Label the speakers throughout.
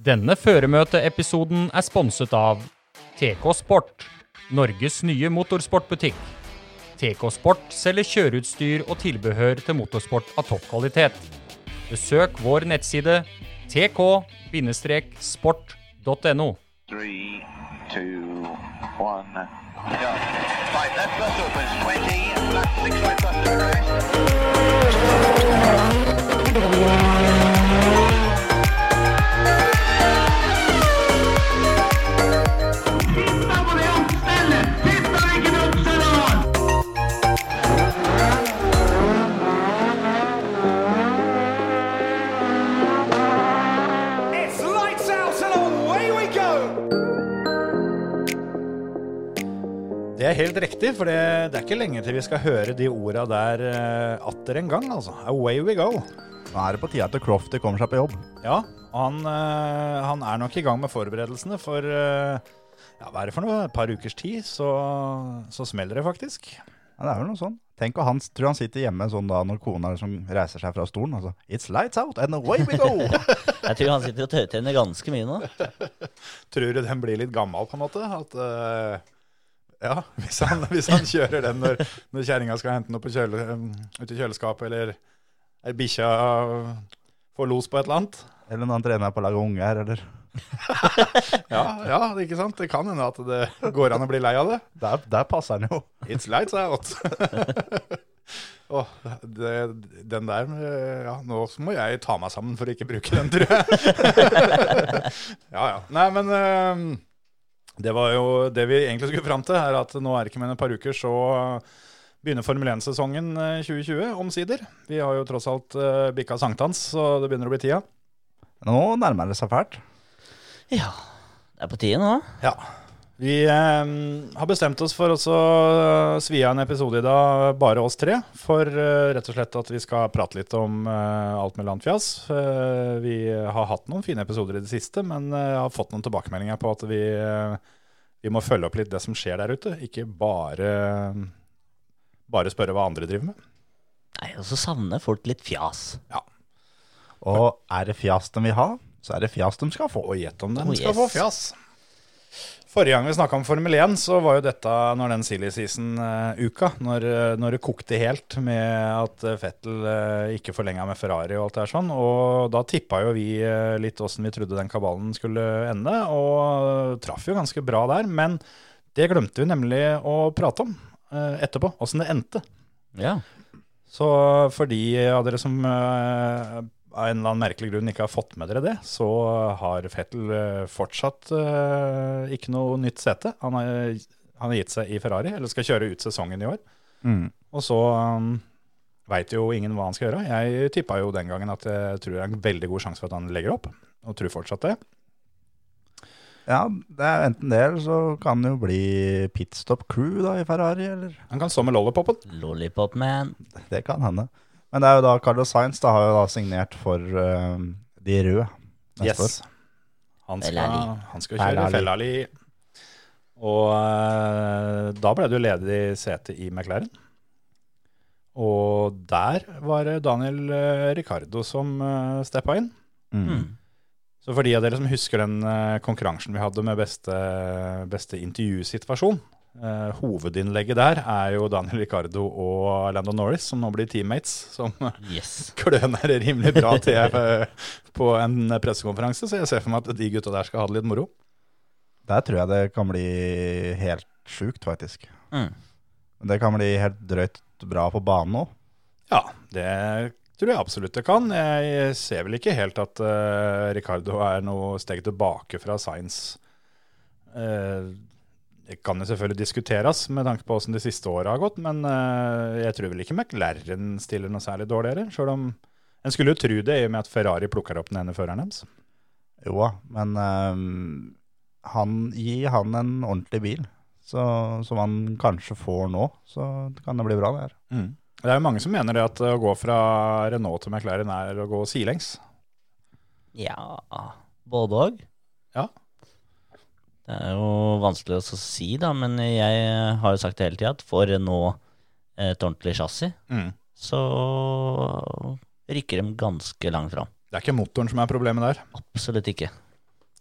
Speaker 1: Denne føremøteepisoden er sponset av TK Sport, Norges nye motorsportbutikk. TK Sport selger kjøreutstyr og tilbehør til motorsport av topp kvalitet. Besøk vår nettside tk-sport.no.
Speaker 2: Three, two, one. Go. Right, left bus opens 20, left six right bus to rest.
Speaker 3: It's lights out and away we go!
Speaker 4: Det er helt riktig, for det, det er ikke lenge til vi skal høre de orda der eh, atter en gang, altså. Away we go.
Speaker 5: Nå er det på tide at Crofty kommer seg på jobb.
Speaker 4: Ja, han, eh, han er nok i gang med forberedelsene, for eh, ja, hva er det for noe? Et par ukers tid, så, så smeller det faktisk.
Speaker 5: Ja, det er vel noe sånn. Tenk å han tror han sitter hjemme sånn da når kona liksom reiser seg fra stolen. Altså, It's lights out and away we go!
Speaker 6: Jeg tror han sitter og tørrtrener ganske mye nå.
Speaker 4: Tror du den blir litt gammel, på en måte? At eh, Ja, hvis han, hvis han kjører den når, når kjerringa skal hente noe på kjøle, eh, ut i kjøleskapet, eller ei bikkja får los på et eller annet.
Speaker 5: eller når han trener på å lage unger, eller
Speaker 4: Ja, ja, ikke sant? Det kan hende at det går an å bli lei av det.
Speaker 5: Der, der passer han jo.
Speaker 4: It's lights out. Åh, det, den der eh, Ja, nå må jeg ta meg sammen for å ikke bruke den, tror jeg. ja, ja. Nei, men eh, det var jo det vi egentlig skulle fram til, er at nå er det ikke mer enn et par uker, så begynner Formel 1-sesongen eh, 2020, omsider. Vi har jo tross alt eh, bikka sankthans, så det begynner å bli tida.
Speaker 5: Nå nærmer det seg fælt.
Speaker 6: Ja, det er på tide nå.
Speaker 4: Ja. Vi eh, har bestemt oss for også å svi av en episode i dag, bare oss tre. For eh, rett og slett at vi skal prate litt om eh, alt mulig annet fjas. Eh, vi har hatt noen fine episoder i det siste, men eh, jeg har fått noen tilbakemeldinger på at vi, eh, vi må følge opp litt det som skjer der ute. Ikke bare, bare spørre hva andre driver med.
Speaker 6: Nei, og så savner folk litt fjas.
Speaker 5: Og er det fjas de vil ha, så er det fjas de skal få.
Speaker 4: Og gjett om den
Speaker 6: Oh,
Speaker 4: skal
Speaker 6: yes.
Speaker 4: få fjas. Forrige gang vi snakka om Formel 1, så var jo dette når den silly season-uka. når, eh, når det kokte helt med at eh, Vettel eh, ikke forlenga med Ferrari og alt det her sånn. Og da tippa jo vi eh, litt åssen vi trodde den kabalen skulle ende, og eh, traff jo ganske bra der. Men det glemte vi nemlig å prate om eh, etterpå, åssen det endte.
Speaker 6: Ja.
Speaker 4: Så for de av dere som eh, av en eller annen merkelig grunn ikke har fått med dere det, så har Fettel fortsatt eh, ikke noe nytt sete. Han har, han har gitt seg i Ferrari, eller skal kjøre ut sesongen i år.
Speaker 5: Mm.
Speaker 4: Og så um, veit jo ingen hva han skal gjøre. Jeg tippa jo den gangen at jeg tror det er en veldig god sjanse for at han legger opp, og tror fortsatt det.
Speaker 5: Ja, det er enten det, eller så kan det jo bli pitstop crew da i Ferrari, eller
Speaker 4: Han kan stå med lollipopen.
Speaker 6: Lollipop Man.
Speaker 5: Det kan hende. Men det er jo da Carlos Sainz da har jo da signert for eh, de røde. neste år.
Speaker 4: Han skal,
Speaker 6: Fellali.
Speaker 4: han skal kjøre
Speaker 5: Fellali.
Speaker 4: Fellali. Og eh, da ble det jo ledig sete i McLaren. Og der var det Daniel eh, Ricardo som uh, steppa inn.
Speaker 5: Mm.
Speaker 4: Så for de av dere som husker den eh, konkurransen vi hadde med beste, beste intervjusituasjon, eh, hovedinnlegget der er jo Daniel Ricardo og Lando Norris, som nå blir teammates, som
Speaker 6: Yes.
Speaker 4: kløner rimelig bra til eh, på en pressekonferanse. Så jeg ser for meg at de gutta der skal ha det litt moro.
Speaker 5: Der tror jeg det kan bli helt sjukt, faktisk.
Speaker 6: Mm.
Speaker 5: Det kan bli helt drøyt bra på banen òg.
Speaker 4: Ja, det tror jeg absolutt det kan. Jeg ser vel ikke helt at eh, Ricardo er noe steg tilbake fra Sainz. Eh, det kan jo selvfølgelig diskuteres med tanke på hvordan de siste åra har gått, men eh, jeg tror vel ikke McLaren stiller noe særlig dårligere. Selv om en skulle jo tro det, i og med at Ferrari plukker opp den ene føreren deres.
Speaker 5: Jo da, men ehm, han, gi han en ordentlig bil, så, som han kanskje får nå, så kan det bli bra, det her.
Speaker 4: Det er jo mange som mener det at å gå fra Renault til McLaren er å gå sidelengs.
Speaker 6: Ja Både òg.
Speaker 4: Ja.
Speaker 6: Det er jo vanskelig å si, da, men jeg har jo sagt det hele tida at får nå eh, et ordentlig chassis,
Speaker 4: Mm.
Speaker 6: så rykker de ganske langt fram.
Speaker 4: Det er ikke motoren som er problemet der.
Speaker 6: Absolutt ikke.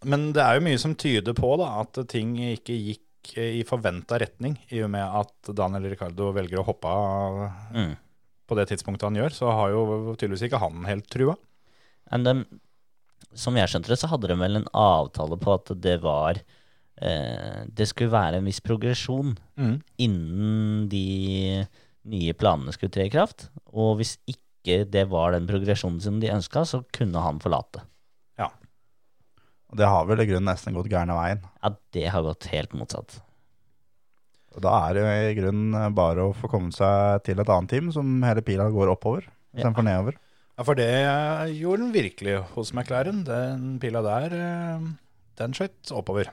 Speaker 4: Men det er jo mye som tyder på da, at ting ikke gikk eh, i forventa retning, i og med at Daniel Ricardo velger å hoppe av
Speaker 6: Mm.
Speaker 4: på det tidspunktet han gjør, så har jo tydeligvis ikke han helt trua.
Speaker 6: Men dem, som jeg skjønte det, så hadde de vel en avtale på at det var eh, Det skulle være en viss progresjon
Speaker 4: Mm.
Speaker 6: innen de nye planene skulle tre i kraft. Og hvis ikke det var den progresjonen som de ønska, så kunne han forlate.
Speaker 5: Og det har vel i grunnen nesten gått gærne veien.
Speaker 6: Ja, det har gått helt motsatt.
Speaker 5: Og da er det jo i grunnen eh, bare å få komme seg til et annet team som hele pila går oppover istedenfor nedover.
Speaker 4: Ja, for det gjorde den virkelig hos McLaren. Den pila der, eh, den skjøt oppover.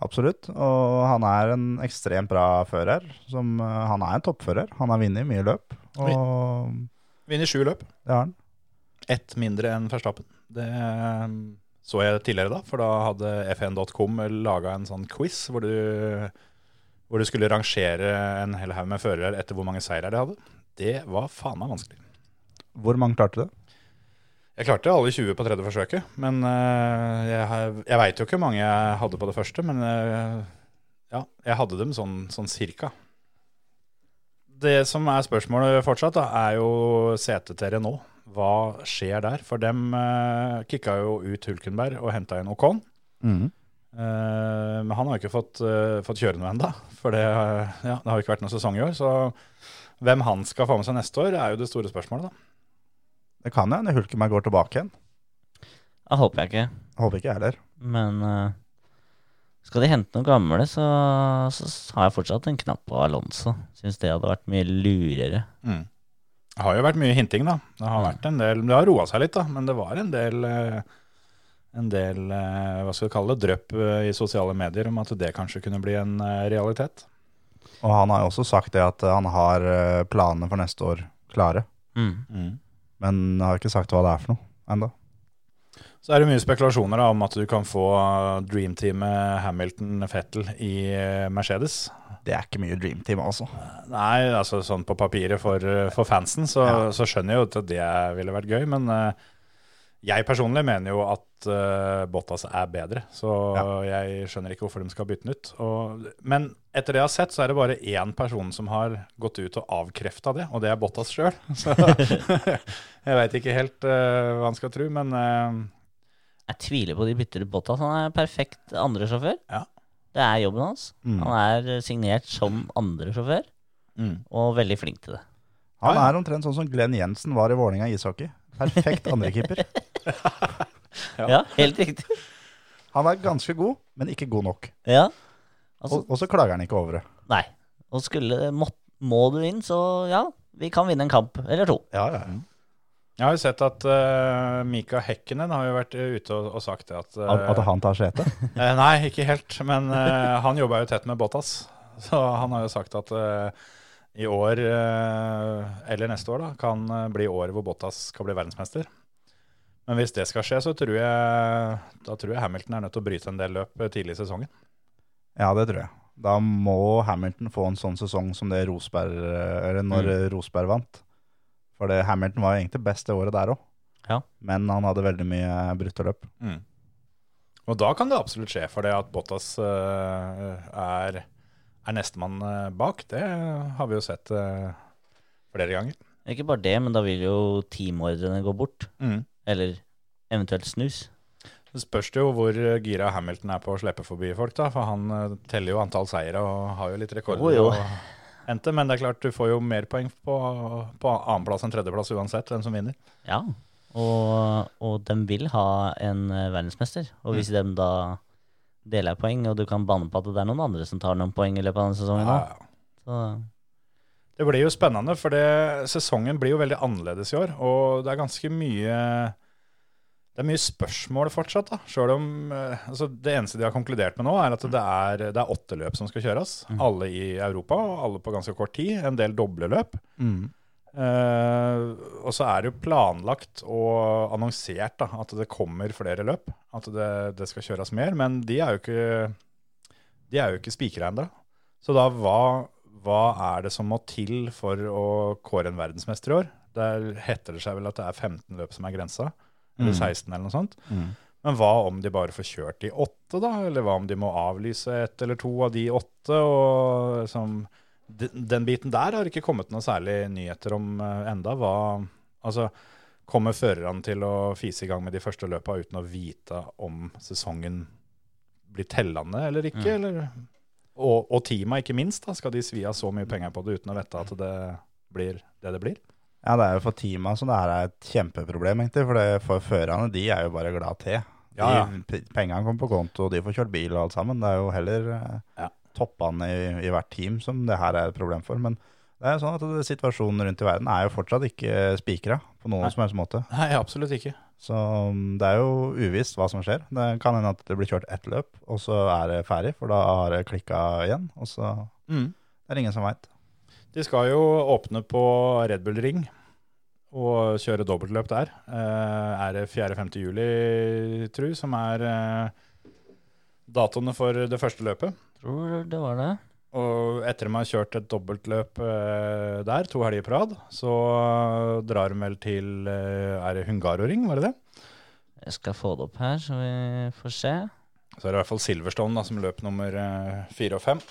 Speaker 5: Absolutt. Og han er en ekstremt bra fører. Som, eh, han er en toppfører. Han har vunnet mye løp, og
Speaker 4: Vinner sju løp.
Speaker 5: det har han.
Speaker 4: Ett mindre enn Verstappen. Det eh, så jeg tidligere da, for da hadde f1.com laga en sånn quiz hvor du, hvor du skulle rangere en hel haug med førere etter hvor mange seirer de hadde. Det var faen meg vanskelig.
Speaker 5: Hvor mange klarte det?
Speaker 4: Jeg klarte alle 20 på tredje forsøket, men eh, jeg, har- jeg veit jo ikke hvor mange jeg hadde på det første, men eh, ja, jeg hadde dem sånn, sånn cirka. Det som er spørsmålet fortsatt, da, er jo setet til Renault. Hva skjer der? For dem eh, kicka jo ut Hulkenberg og henta inn Ocon. Eh, men han har jo ikke fått, eh, fått kjøre noe ennå, for det, eh, ja, det har jo ikke vært noen sesong i år. Så hvem han skal få med seg neste år, er jo det store spørsmålet, da.
Speaker 5: Det kan jo hende Hulkenberg går tilbake igjen.
Speaker 6: Det håper jeg ikke.
Speaker 5: Håper ikke jeg heller.
Speaker 6: Men eh, skal de hente noen gamle, så, så har jeg fortsatt en knapp på Alonso. Syns det hadde vært mye lurere.
Speaker 4: Mm. Det har jo vært mye hinting, da. Det har, vært en del, det har roa seg litt, da. Men det var en del, eh, en del eh, hva skal vi kalle det, drypp eh, i sosiale medier om at det kanskje kunne bli en eh, realitet.
Speaker 5: Og han har jo også sagt det at eh, han har eh, planene for neste år klare.
Speaker 6: Mm.
Speaker 5: Men har ikke sagt hva det er for noe ennå.
Speaker 4: Så er det mye spekulasjoner da, om at du kan få eh, dreamteamet Hamilton-Fettel i eh, Mercedes.
Speaker 5: Det er ikke mye dream team, altså.
Speaker 4: Nei, altså sånn på papiret for, for fansen, så,
Speaker 5: Ja.
Speaker 4: så skjønner jeg jo at det ville vært gøy. Men eh, jeg personlig mener jo at eh, Bottas er bedre, så jeg skjønner ikke hvorfor de skal bytte den ut. Og, men etter det jeg har sett, så er det bare én person som har gått ut og avkrefta det, og det er Bottas sjøl. Så jeg veit ikke helt eh, hva han skal tro, men eh,
Speaker 6: Jeg tviler på de bytter ut Bottas. Han er perfekt andresjåfør.
Speaker 4: Ja.
Speaker 6: Det er jobben hans.
Speaker 5: Mm.
Speaker 6: Han er eh, signert som andresjåfør, og veldig flink til det.
Speaker 5: Han
Speaker 4: Ja, ja.
Speaker 5: er omtrent sånn som Glenn Jensen var i Vålinga ishockey. Perfekt andrekeeper.
Speaker 6: Ja, helt riktig.
Speaker 5: Han er ganske god, men ikke god nok.
Speaker 6: Ja. Altså,
Speaker 5: Og, og så klager han ikke over det.
Speaker 6: nei. Og skulle må, må du inn, så ja, vi kan vinne en kamp eller to.
Speaker 5: Ja, ja.
Speaker 4: jeg har jo sett at eh, Mika Hekkinen har jo vært eh, ute og, og sagt det at eh,
Speaker 5: At, at han tar sete.
Speaker 4: Eh, nei, ikke helt. Men eh, han jobba jo tett med Bottas. Så han har jo sagt at eh, i år, eh, eller neste år, da, kan eh, bli året hvor Bottas skal bli verdensmester. Men hvis det skal skje, så tror jeg, da tror jeg Hamilton er nødt til å bryte en del løp eh, tidlig i sesongen.
Speaker 5: Ja, det tror jeg. Da må Hamilton få en sånn sesong som det Rosberg eh, Eller når
Speaker 6: Mm.
Speaker 5: Rosberg vant. For det, Hamilton var jo egentlig best det året der òg.
Speaker 6: Ja.
Speaker 5: Men han hadde veldig mye brutte løp.
Speaker 4: Og da kan det absolutt skje, for det at Bottas eh, er, er nestemann eh, bak, det har vi jo sett eh, flere ganger.
Speaker 6: Ikke bare det, men da vil jo teamordrene gå bort. Eller eventuelt snus.
Speaker 4: Det spørs det jo hvor eh, gira Hamilton er på å slippe forbi folk, da. For han eh, teller jo antall seire og har jo litt rekorder
Speaker 6: Jo, jo.
Speaker 4: å hente. Men det er klart, du får jo mer poeng på, på annenplass enn tredjeplass uansett hvem som vinner.
Speaker 6: Ja, og, og de vil ha en eh, verdensmester. Og hvis de da deler poeng, og du kan banne på at det er noen andre som tar noen poeng i løpet av denne sesongen,
Speaker 4: Ja,
Speaker 6: da,
Speaker 4: ja.
Speaker 6: så
Speaker 4: Det blir jo spennende, for det, sesongen blir jo veldig annerledes i år. Og det er ganske mye Det er mye spørsmål fortsatt, da. Selv om eh, altså, Det eneste de har konkludert med nå, er at det er, det er åtte løp som skal kjøres. Alle i Europa, og alle på ganske kort tid. En del doble løp. Eh, og så er det jo planlagt og annonsert da, at det kommer flere løp. At det, det skal kjøres mer. Men de er jo ikke, de er jo ikke spikra ennå. Så da, hva, hva er det som må til for å kåre en
Speaker 5: Mm.
Speaker 4: verdensmester i år? Der heter det seg vel at det er 15 løp som er grensa, eller 16 eller noe sånt. Men hva om de bare får kjørt de åtte, da? Eller hva om de må avlyse ett eller to av de åtte? Og liksom, den, den biten der har ikke kommet noen særlig nyheter om eh, enda. Hva, altså, kommer førerne til å fise i gang med de første løpa uten å vite om sesongen blir tellende eller ikke? Eller? Og, og teama, ikke minst. da, Skal de svi av så mye penger på det uten å vite at det blir det det blir?
Speaker 5: Ja, det er jo for teama så det her er et kjempeproblem, egentlig. For, det, for førerne, de er jo bare glad til. De,
Speaker 4: Ja, ja.
Speaker 5: p- Pengene kommer på konto, de får kjørt bil og alt sammen. Det er jo heller eh,
Speaker 4: Ja.
Speaker 5: toppene i, i hvert team som det her er et problem for. Men det er jo sånn at det, situasjonen rundt i verden er jo fortsatt ikke eh, spikra på noen som helst måte.
Speaker 4: Nei, absolutt ikke.
Speaker 5: Så mm, det er jo uvisst hva som skjer. Det kan hende at det blir kjørt ett løp, og så er det ferdig, for da har det klikka igjen. Og så
Speaker 4: Mm.
Speaker 5: er det ingen som veit.
Speaker 4: De skal jo åpne på Red Bull Ring og kjøre dobbeltløp der. Eh, er det 4.-5. juli, tru, som er eh, datoene for det første løpet.
Speaker 6: Tror det var det.
Speaker 4: Og etter de har kjørt et dobbeltløp eh, der, to helger på rad, så drar de vel til eh, Er det Hungaroring, var det det?
Speaker 6: Jeg skal få det opp her, så vi får se.
Speaker 4: Så er det i hvert fall Silverstone da, som løp nummer eh, fire og fem.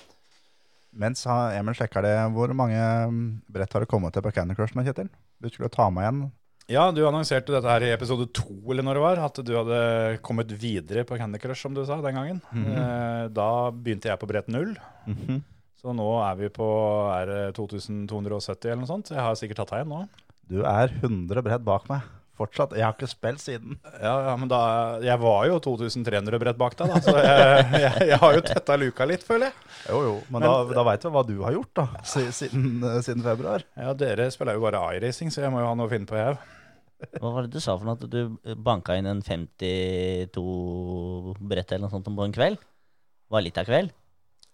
Speaker 5: Mens ha- Emil sjekker det, hvor mange mm, brett har det kommet til på Candy Crush nå, Kjetil? Du skulle ta med igjen.
Speaker 4: Ja, du annonserte dette her i episode to, eller når det var, at du hadde kommet videre på Candy Crush, som du sa den gangen. Eh, Da begynte jeg på brett null,
Speaker 5: Mhm.
Speaker 4: så nå er vi på er det 2270 eller noe sånt. Jeg har sikkert tatt deg igjen nå.
Speaker 5: Du er 100 brett bak meg. Fortsatt. Jeg har ikke spilt siden.
Speaker 4: Ja, ja men da, jeg var jo 2300 brett bak deg, da, så jeg, jeg, jeg har jo tetta luka litt, føler jeg.
Speaker 5: Jo, jo, men, da, da veit du hva du har gjort, da. si- Siden, eh, siden februar.
Speaker 4: Ja, dere spiller jo bare iRacing, så jeg må jo ha noe å finne på, jeg òg.
Speaker 6: Hva var det du sa for noe? At du banka inn en 52 brett eller noe sånt på en kveld? Var litt av kveld?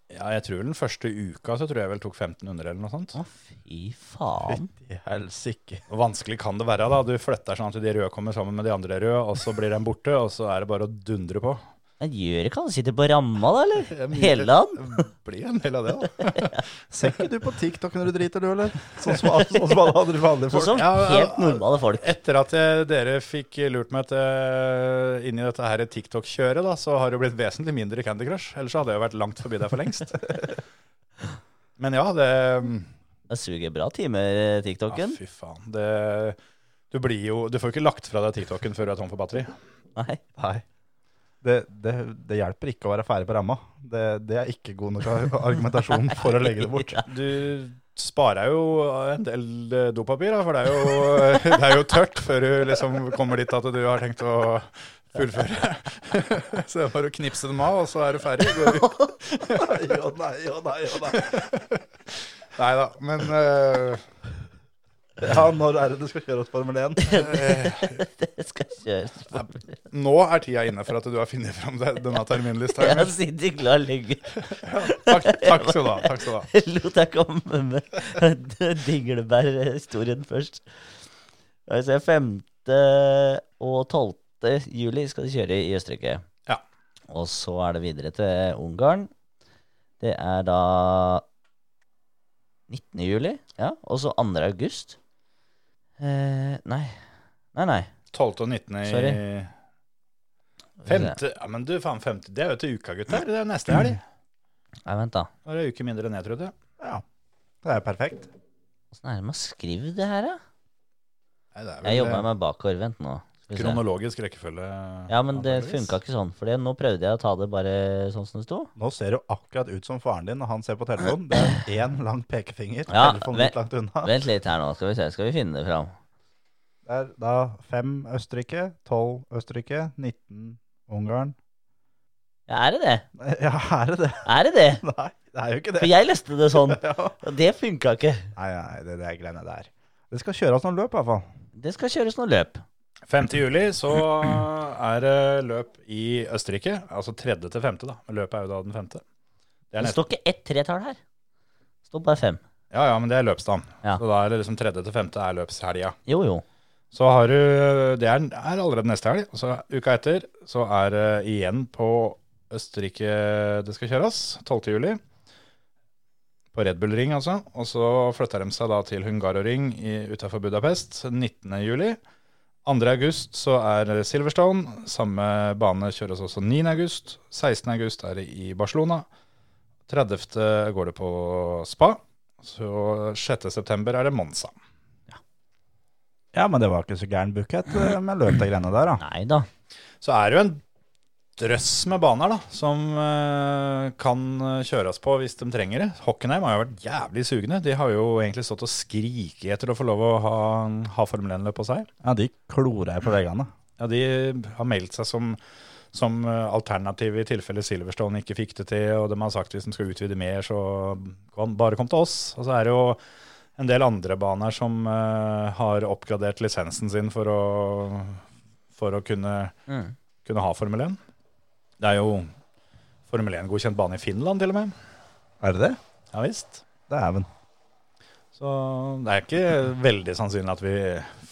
Speaker 4: Ja, jeg tror den første uka så tror jeg vel tok 1500 eller noe sånt.
Speaker 6: Fy faen.
Speaker 5: Fytti helsike.
Speaker 4: Hvor vanskelig kan det være? da? Du flytter sånn at de røde kommer sammen med de andre røde, og så blir de borte, og så er det bare å dundre på.
Speaker 6: Jeg gjør ikke han sitter på ramma, da, eller?
Speaker 4: mye-
Speaker 6: Hele han?
Speaker 4: Det blir en del av det, da.
Speaker 5: Ser ikke du på TikTok når du driter, du, eller? Sånn som, sånn som alle andre vanlige
Speaker 6: Sånn
Speaker 5: folk.
Speaker 6: som
Speaker 4: Ja, ja,
Speaker 6: helt normale folk.
Speaker 4: Etter at eh, dere fikk lurt meg til, inn i dette her TikTok-kjøret, da, så har det blitt vesentlig mindre Candy Crush. Ellers så hadde jeg jo vært langt forbi deg for lengst. Men ja, det
Speaker 6: Det suger bra timer, eh,
Speaker 4: ja,
Speaker 6: TikToken.
Speaker 4: Ah, Fy faen. Det, du, blir jo, du får ikke lagt fra deg TikToken før du er tom for batteri.
Speaker 6: Nei.
Speaker 5: Nei. Det, det, det hjelper ikke å være ferdig på ramma. Det, det er ikke god nok argumentasjon for å legge det bort.
Speaker 4: Du sparer jo en del eh, dopapir, da, for det er, jo, det er jo tørt før du liksom kommer dit at du har tenkt å fullføre. Så det er bare å knipse dem av, og så er du ferdig. Går ut.
Speaker 5: Jo, nei, jo, nei, jo, nei.
Speaker 4: Nei da, men eh,
Speaker 5: Ja, når er det du skal kjøre oss Formel 1?
Speaker 6: Det skal kjøres på.
Speaker 4: nå er tida inne for at du har funnet fram det- denne terminlista.
Speaker 6: Jeg
Speaker 4: Emil.
Speaker 6: sitter klar lenge.
Speaker 4: Takk, takk skal du ha. takk skal du ha.
Speaker 6: Lot jeg komme med dinglebærhistorien først. Altså, 5. og 12. juli skal de kjøre i Østerrike.
Speaker 4: Ja.
Speaker 6: Og så er det videre til Ungarn. Det er da 19. juli, ja. Og så 2. august. Eh, nei. Nei, nei.
Speaker 4: 12. og 19. i
Speaker 6: Sorry.
Speaker 4: Femte, ja, men du, faen, femte, Det er jo til uka, gutter. Det er jo neste helg.
Speaker 6: Nei, vent, da.
Speaker 4: Da er det en uke mindre enn jeg trodde.
Speaker 5: Ja, det er perfekt.
Speaker 6: Åssen er det man skriver det her, da?
Speaker 4: Nei, det er vel,
Speaker 6: Jeg jobber meg bakover. Vent nå.
Speaker 4: eh,
Speaker 6: Skal vi se.
Speaker 4: Kronologisk rekkefølge.
Speaker 6: Ja, men det
Speaker 4: antageligvis.
Speaker 6: funka ikke sånn. For det- nå prøvde jeg å ta det bare sånn som det sto.
Speaker 5: Nå ser du akkurat ut som faren din når han ser på telefonen. Det er én lang pekefinger.
Speaker 6: Ja,
Speaker 5: telefonen litt
Speaker 6: vel-
Speaker 5: langt
Speaker 4: Ah.
Speaker 5: unna.
Speaker 6: Vent litt her nå, skal vi se. Skal vi finne det fram?
Speaker 5: Det er da fem Østerrike, tolv Østerrike, 19 Ungarn.
Speaker 6: Ja, er det det?
Speaker 5: Nei, Ja, er det det?
Speaker 6: Er det det?
Speaker 5: Nei, det er jo ikke
Speaker 6: For
Speaker 5: det.
Speaker 6: jeg leste det sånn.
Speaker 5: Ja.
Speaker 6: Og det funka ikke.
Speaker 5: Nei, nei, det, det er greiene der. Det skal kjøres noen løp, i hvert fall.
Speaker 6: Det skal kjøres noen løp.
Speaker 4: 5. juli så er det løp i Østerrike, altså tredje til femte da. Løpet er jo da den femte. Det er
Speaker 6: Det
Speaker 4: nett.
Speaker 6: står ikke ett tretall her. Det står bare fem.
Speaker 4: Ja, ja, men det er løpsdagen.
Speaker 6: Ja.
Speaker 4: Så da er det liksom tredje til femte er løpshelga.
Speaker 6: Jo, jo.
Speaker 4: Så har du, det er, er allerede neste helg, og så uka etter så er det igjen på Østerrike det skal kjøres, 12. juli. På Red Bull Ring altså, og så flytter de seg da til Hungaroring i- utenfor Budapest 19. juli. 2. august så er Silverstone. Samme bane kjøres også 9. august. 16. august er det i Barcelona. 30. går det på Spa. Så 6. september er det Monza.
Speaker 5: Ja, men det var ikke så gæren bukett eh, med løp de greiene der, da.
Speaker 6: Nei da.
Speaker 4: Så er det jo en drøss med baner da, som eh, kan kjøres på hvis de trenger det. Hockenheim har jo vært jævlig sugende. De har jo egentlig stått og skriket etter å få lov å ha, ha Formel 1-løp på seg.
Speaker 5: Ja, de klorer jeg på veggene.
Speaker 4: Ja, de har meldt seg som, som eh, alternativ i tilfelle Silverstone ikke fikk det til, og de har sagt hvis de skal utvide mer, så kom, bare kom til oss. Og så er det jo en del andre baner som eh, har oppgradert lisensen sin for å, for å kunne,
Speaker 6: Mm.
Speaker 4: kunne ha Formel 1. Det er jo Formel 1-godkjent bane i Finland til og med.
Speaker 5: Er det det?
Speaker 4: Ja visst.
Speaker 5: Dæven.
Speaker 4: Så det er ikke veldig sannsynlig at vi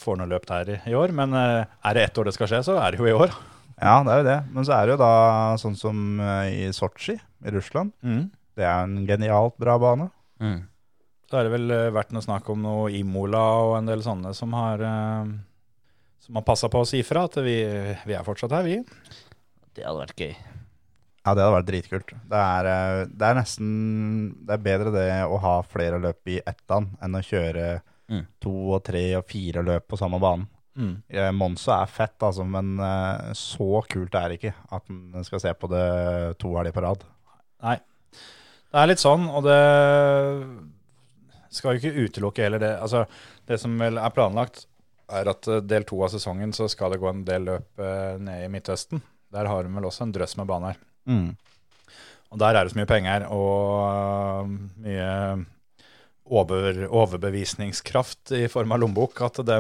Speaker 4: får noe løp der i, i år, men eh, er det ett år det skal skje, så er det jo i år.
Speaker 5: Ja, det er jo det. Men så er det jo da sånn som eh, i Sotsji i Russland.
Speaker 4: Mm.
Speaker 5: Det er en genialt bra bane.
Speaker 6: Mm.
Speaker 4: Så har det vel eh, vært noe snakk om noe Imola og en del sånne som har, eh, som har passa på å si fra at vi, vi er fortsatt her, vi.
Speaker 6: Det hadde vært gøy.
Speaker 5: Ja, det hadde vært dritkult. Det er, eh, det er nesten Det er bedre det å ha flere løp i ett land enn å kjøre
Speaker 6: Mm.
Speaker 5: to og tre og fire løp på samme banen. Eh, Monza er fett, altså, men eh, så kult er det ikke at en skal se på det to helger på rad.
Speaker 4: Det er litt sånn, og det skal jo ikke utelukke heller det. Altså, det som vel er planlagt, er at eh, del to av sesongen så skal det gå en del løp eh, ned i Midtøsten. Der har de vel også en drøss med baner. Og der er det så mye penger og øh, mye over, overbevisningskraft i form av lommebok at de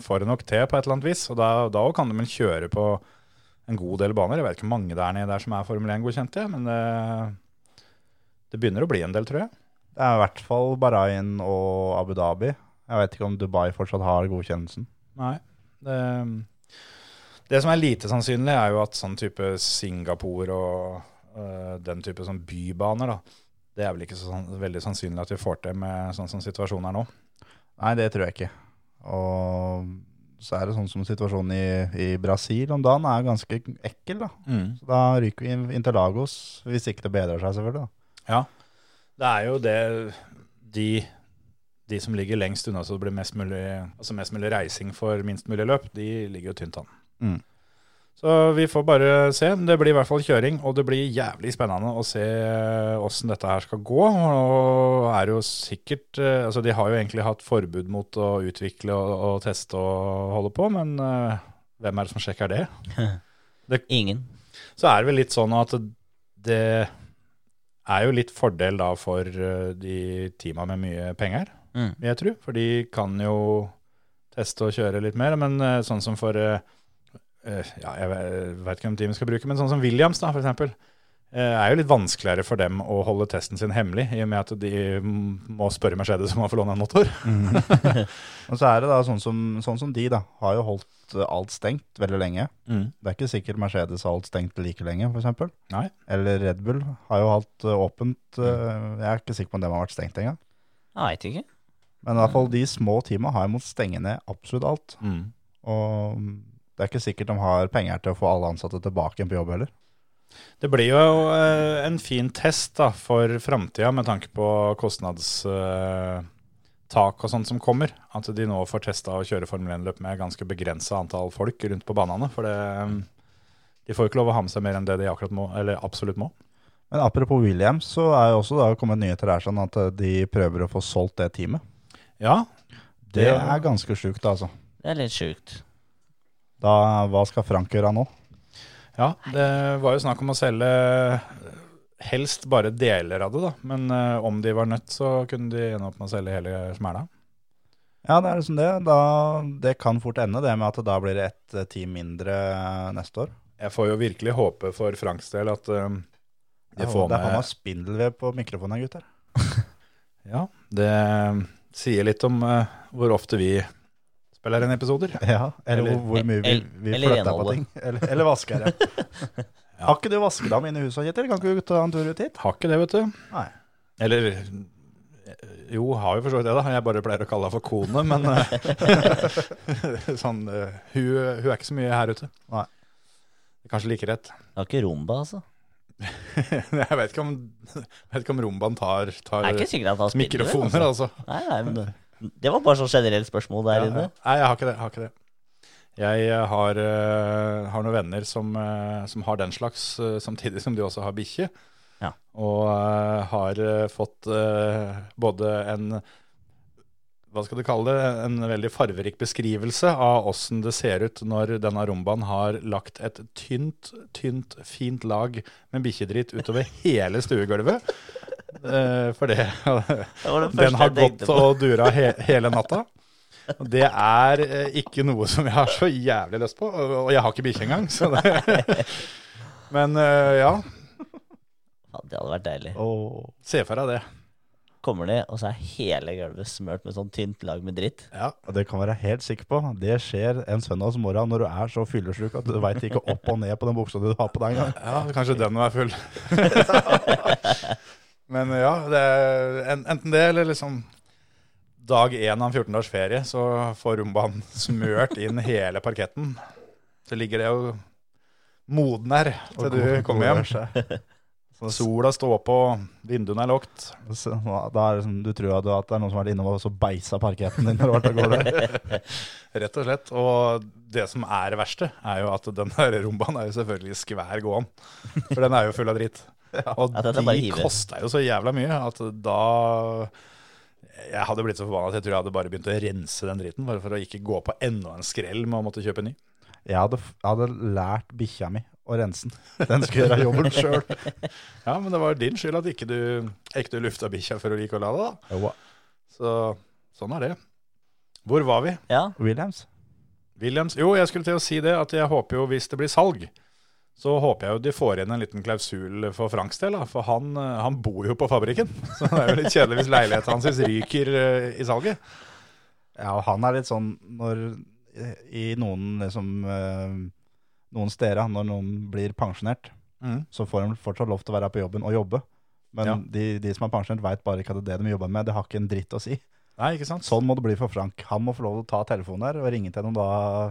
Speaker 4: får det nok til på et eller annet vis. Og da, da kan de vel kjøre på en god del baner. Jeg vet ikke hvor mange der nede der som er Formel 1-godkjente, men eh, det, det begynner å bli en del, tror jeg.
Speaker 5: Det er i hvert fall Bahrain og Abu Dhabi. Jeg vet ikke om Dubai fortsatt har godkjennelsen.
Speaker 4: Nei. Det, Ehm, det som er lite sannsynlig, er jo at sånn type Singapore og øh, den type sånn bybaner, da, det er vel ikke så sann- veldig sannsynlig at vi får til med sånn som situasjonen er nå.
Speaker 5: Nei, det tror jeg ikke. Og så er det sånn som situasjonen i, i Brasil om dagen er ganske ekkel, da. Så da ryker vi inn til Lagos, hvis ikke det bedrer seg, selvfølgelig. da.
Speaker 4: Ja. Det er jo det de, de som ligger lengst unna så det blir mest mulig, altså mest mulig reising for minst mulig løp, de ligger jo tynt an.
Speaker 5: Mm.
Speaker 4: Så vi får bare se. Men Det blir i hvert fall kjøring, og det blir jævlig spennende å se eh, åssen dette her skal gå. Og er jo sikkert eh, Altså, de har jo egentlig hatt forbud mot å utvikle og, og teste og holde på, men eh, hvem er det som sjekker det?
Speaker 6: Ingen.
Speaker 4: så er det vel litt sånn at det er jo litt fordel da for eh, de teama med mye penger,
Speaker 6: Mm.
Speaker 4: vil jeg tro. For de kan jo teste og kjøre litt mer, men eh, sånn som for eh, eh, ja, Jeg ve- vet ikke hvem teamet skal bruke, men sånn som Williams, da, for eksempel. eh, er jo litt vanskeligere for dem å holde testen sin hemmelig, i og med at de må spørre Mercedes om å få låne en motor.
Speaker 5: Og så er det da sånn som, sånn som de, da. Har jo holdt eh, alt stengt veldig lenge. Det er ikke sikkert Mercedes har holdt stengt like lenge, f.eks.
Speaker 4: Nei.
Speaker 5: Eller Red Bull har jo holdt eh, åpent. eh, Jeg er ikke sikker på om dem har vært stengt engang.
Speaker 6: Jeg veit ikke.
Speaker 5: Men i hvert fall de små teama har jo måttet stenge ned absolutt alt.
Speaker 4: Mm.
Speaker 5: Og det er ikke sikkert de har penger til å få alle ansatte tilbake igjen på jobb heller.
Speaker 4: Det blir jo eh, en fin test da, for framtida med tanke på kostnadstak og sånt som kommer. At de nå får testa å kjøre Formel 1-løp med ganske begrensa antall folk rundt på banene. For det, eh, de får jo ikke lov å ha med seg mer enn det de akkurat må, eller absolutt må.
Speaker 5: Men apropos Williams, så er jo også da kommet nyheter her sånn at eh, de prøver å få solgt det teamet.
Speaker 4: Ja,
Speaker 5: Det
Speaker 4: Det-
Speaker 5: er ganske sjukt, altså.
Speaker 6: Det er litt sjukt.
Speaker 5: Da, hva skal Frank gjøre nå?
Speaker 4: ja det var jo snakk om å selge eh, helst bare deler av det, da. Men eh, om de var nødt, så kunne de ende opp med å selge hele smæla.
Speaker 5: Ja, det er liksom det. Da, det kan fort ende det med at da blir det ett eh, team mindre eh, neste år.
Speaker 4: Jeg får jo virkelig håpe for Franks del at eh, de
Speaker 5: Ja,
Speaker 4: får
Speaker 5: det er faen
Speaker 4: med
Speaker 5: meg spindelvev på mikrofonen her, gutter.
Speaker 4: Ja, det eh, sier litt om eh, hvor ofte vi spiller inn episoder.
Speaker 5: Ja, eller,
Speaker 4: Eller-
Speaker 5: hvor- hvor mye vi,
Speaker 6: el-
Speaker 5: vi
Speaker 6: eller
Speaker 5: flytter på
Speaker 6: renholdet.
Speaker 5: ting. Eller, eller vasker, ja. Har ikke du vaskedam inne i huset, Kjetil? Kan ikke du ta en tur ut hit?
Speaker 4: Har ikke det, vet du.
Speaker 5: Nei.
Speaker 4: Eller eh, Jo, har jo for så vidt det, da. Jeg bare pleier å kalle henne for kone, men eh, sånn, eh, hun, hun er ikke så mye her ute.
Speaker 5: Nei.
Speaker 4: Kanskje like rett.
Speaker 6: Det var ikke rumba, altså.
Speaker 4: Jeg vet ikke om, vet ikke om rumbaen tar, tar
Speaker 6: Det er ikke sikkert at han spiller det,
Speaker 4: mikrofoner,
Speaker 6: altså.
Speaker 4: altså.
Speaker 6: Nei, nei, men det, det var bare sånn generelt spørsmål der
Speaker 4: Ja,
Speaker 6: inne.
Speaker 4: ja. Nei, jeg har ikke det. Jeg, har ikke det. jeg eh, har, eh, har noen venner som, eh, som har den slags, eh, samtidig som de også har bikkje.
Speaker 6: Ja.
Speaker 4: Og eh, har eh, fått eh, både en hva skal du kalle det, en veldig farverik beskrivelse av åssen det ser ut når denne rumbaen har lagt et tynt, tynt, fint lag med bikkjedritt utover hele stuegulvet. Eh, For det
Speaker 6: Det var det
Speaker 4: den
Speaker 6: første
Speaker 4: har
Speaker 6: jeg tenkte
Speaker 4: gått
Speaker 6: på.
Speaker 4: og dura he hele natta. Og Det er eh, ikke noe som jeg har så jævlig lyst på, og og jeg har ikke bikkje engang. Så det. Men eh, ja,
Speaker 6: Ja, det hadde vært deilig.
Speaker 5: Åh.
Speaker 4: se for deg det.
Speaker 6: Kommer de, og så er hele gulvet smørt med sånn tynt lag med dritt.
Speaker 4: Ja.
Speaker 5: Og det kan være helt sikker på. Det skjer en søndagsmorgen når du er så fyllesluk at du veit ikke opp og ned på den buksa du har på deg engang.
Speaker 4: Ja, kanskje den var full. Men ja, det er en, enten det eller liksom dag én av en 14 dagers ferie, så får rumbaen smørt inn hele parketten. Så ligger det jo modner til du kommer hjem. Sola står på, vinduene er lukket.
Speaker 5: Så, da er det som, du tror at du- at det er noen som har vært innom og så beisa parketten din. Når du har vært av gårde.
Speaker 4: Rett og slett. Og det som er det verste, er jo at den der rumbaen er jo selvfølgelig skvær gåen. For den er jo full av dritt. Og
Speaker 6: Ja, dette er bare
Speaker 4: de
Speaker 6: hiver.
Speaker 4: kosta jo så jævla mye at da Jeg hadde blitt så forbanna at jeg tror jeg hadde bare begynt å rense den driten, bare for å ikke gå på enda en skrell med å måtte kjøpe ny.
Speaker 5: Jeg hadde, f- jeg hadde lært bikkja mi å rense den. Den skulle gjøre jobben sjøl.
Speaker 4: Ja, men det var din skyld at ikke du, ikke du lufta bikkja før du gikk og la deg, da. Så sånn er det. Hvor var vi?
Speaker 6: Ja,
Speaker 5: Williams.
Speaker 4: Williams, jo, jeg skulle til å si det, at jeg håper jo hvis det blir salg, så håper jeg jo de får inn en liten klausul for Franks del, da, for han, eh, han bor jo på fabrikken. Så det er jo litt kjedelig hvis leiligheten hans ryker eh, i salget.
Speaker 5: Ja, og han er litt sånn når I noen liksom eh, Noen steder, når noen blir pensjonert,
Speaker 4: Mm.
Speaker 5: så får de fortsatt lov til å være på jobben og jobbe. Men
Speaker 4: Ja.
Speaker 5: de, de som er pensjonert, veit bare ikke at det er det de jobber med. Det har ikke en dritt å si.
Speaker 4: Nei, ikke sant?
Speaker 5: Sånn må det bli for Frank. Han må få lov til å ta telefonen her og ringe til noen da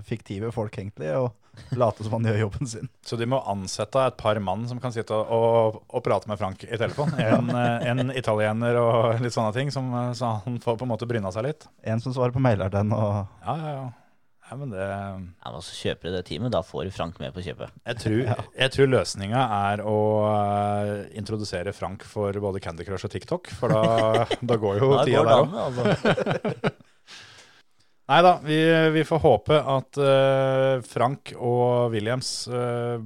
Speaker 5: fiktive folk egentlig, og late som han gjør jobben sin.
Speaker 4: Så de må ansette et par mann som kan sitte og, og, og prate med Frank i telefon. En, eh, en italiener og litt sånne ting, som, eh, så han får på en måte bryna seg litt.
Speaker 5: En som svarer på mailer den, og
Speaker 4: Ja, ja, ja. Nei, men det...
Speaker 6: ja men så kjøper du det teamet, da får du Frank med på kjøpet.
Speaker 4: Jeg tror, jeg tror løsninga er å eh, introdusere Frank for både Candy Crush og TikTok, for da, da går jo
Speaker 6: Da
Speaker 4: tida
Speaker 6: går det
Speaker 4: der
Speaker 6: an,
Speaker 4: òg.
Speaker 6: altså.
Speaker 4: Nei da, vi, vi får håpe at eh, Frank og Williams eh,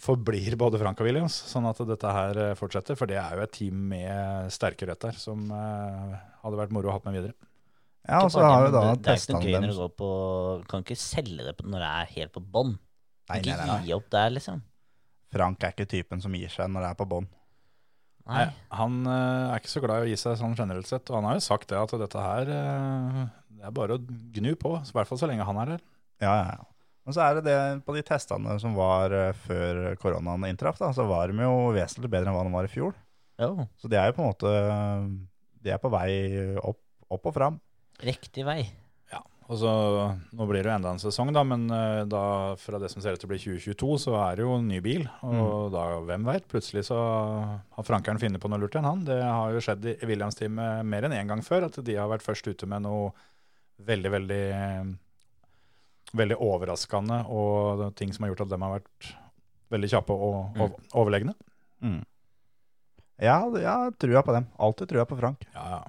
Speaker 4: forblir både Frank og Williams, sånn at dette her eh, fortsetter. For det er jo et team med sterke røtter som eh, hadde vært moro å ha med videre.
Speaker 5: Ja, og så
Speaker 6: Ikke
Speaker 5: har
Speaker 6: bare
Speaker 5: jo
Speaker 6: det,
Speaker 5: da
Speaker 6: men Det det er ikke
Speaker 5: testa
Speaker 6: noen
Speaker 5: han
Speaker 6: grunner
Speaker 5: dem.
Speaker 6: å gå på Kan ikke selge det på- når det er helt på bånn.
Speaker 5: Nei, nei,
Speaker 6: Ikke
Speaker 5: nei, nei.
Speaker 6: gi opp der, liksom.
Speaker 5: Frank er ikke typen som gir seg når det er på bånn.
Speaker 6: Nei.
Speaker 4: Nei, han eh, er ikke så glad i å gi seg sånn generelt sett, og han har jo sagt det at dette her eh, det er bare å gnu på, i hvert fall så lenge han er her.
Speaker 5: Ja, ja, ja. Men så er det det på de testene som var eh, før koronaen inntraff, da, så var de jo vesentlig bedre enn hva de var i fjor.
Speaker 6: Jo,
Speaker 5: Så de er jo på en måte De er på vei opp, opp og fram.
Speaker 6: riktig vei.
Speaker 4: Ja, og så Nå blir det jo enda en sesong, da, men eh, da, fra det som ser ut til å bli 2022, så er det jo en ny bil. Og da, hvem veit, plutselig så har Frankeren funnet på noe lurt enn han. Det har jo skjedd i Williams-teamet mer enn én gang før, at de har vært først ute med noe veldig, veldig eh, Veldig overraskende, og ting som har gjort at dem har vært veldig kjappe og, og overlegne.
Speaker 5: Ja, det- ja, trua på dem. Alltid trua på Frank.
Speaker 4: Ja, ja.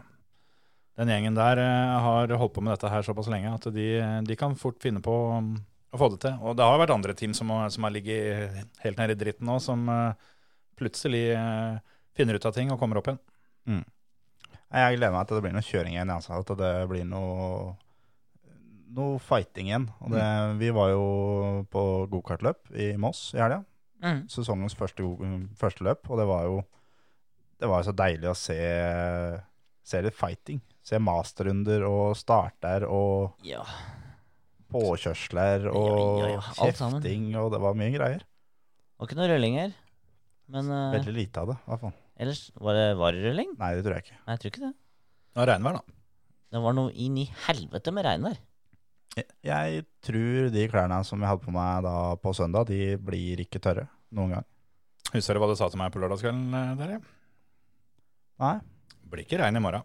Speaker 4: Den gjengen der eh, har holdt på med dette her såpass lenge at de, de kan fort finne på um, å få det til. Og det har vært andre team som, har- som har ligget helt nede i dritten nå, som eh, plutselig eh, finner ut av ting og kommer opp igjen.
Speaker 5: Nei, Jeg gleder meg til det blir noe kjøring igjen. Altså, at det blir noe, noe fighting igjen. Og det, Vi var jo på gokartløp i Moss i helga. Sesongens første, go- mm, første løp. Og det var jo det var jo så deilig å se, se litt fighting. Se masterrunder og starter og
Speaker 6: Ja.
Speaker 5: påkjørsler og
Speaker 6: Ja, ja, ja, alt sammen.
Speaker 5: kjefting, og det var mye greier.
Speaker 6: Var ikke noe rulling her. Men eh,
Speaker 5: Veldig lite av det, i hvert fall.
Speaker 6: ellers var det, var det rulling?
Speaker 5: Nei, det tror jeg ikke.
Speaker 6: Nei, jeg tror ikke det.
Speaker 4: Det var regnvær, da.
Speaker 6: Det var noe inn i helvete med regnvær.
Speaker 5: Jeg, jeg tror de klærne som jeg hadde på meg da på søndag, de blir ikke tørre noen gang.
Speaker 4: Husker du hva du sa til meg på lørdagskvelden? eh, Terje?
Speaker 5: Nei.
Speaker 4: Blir ikke regn i morgen.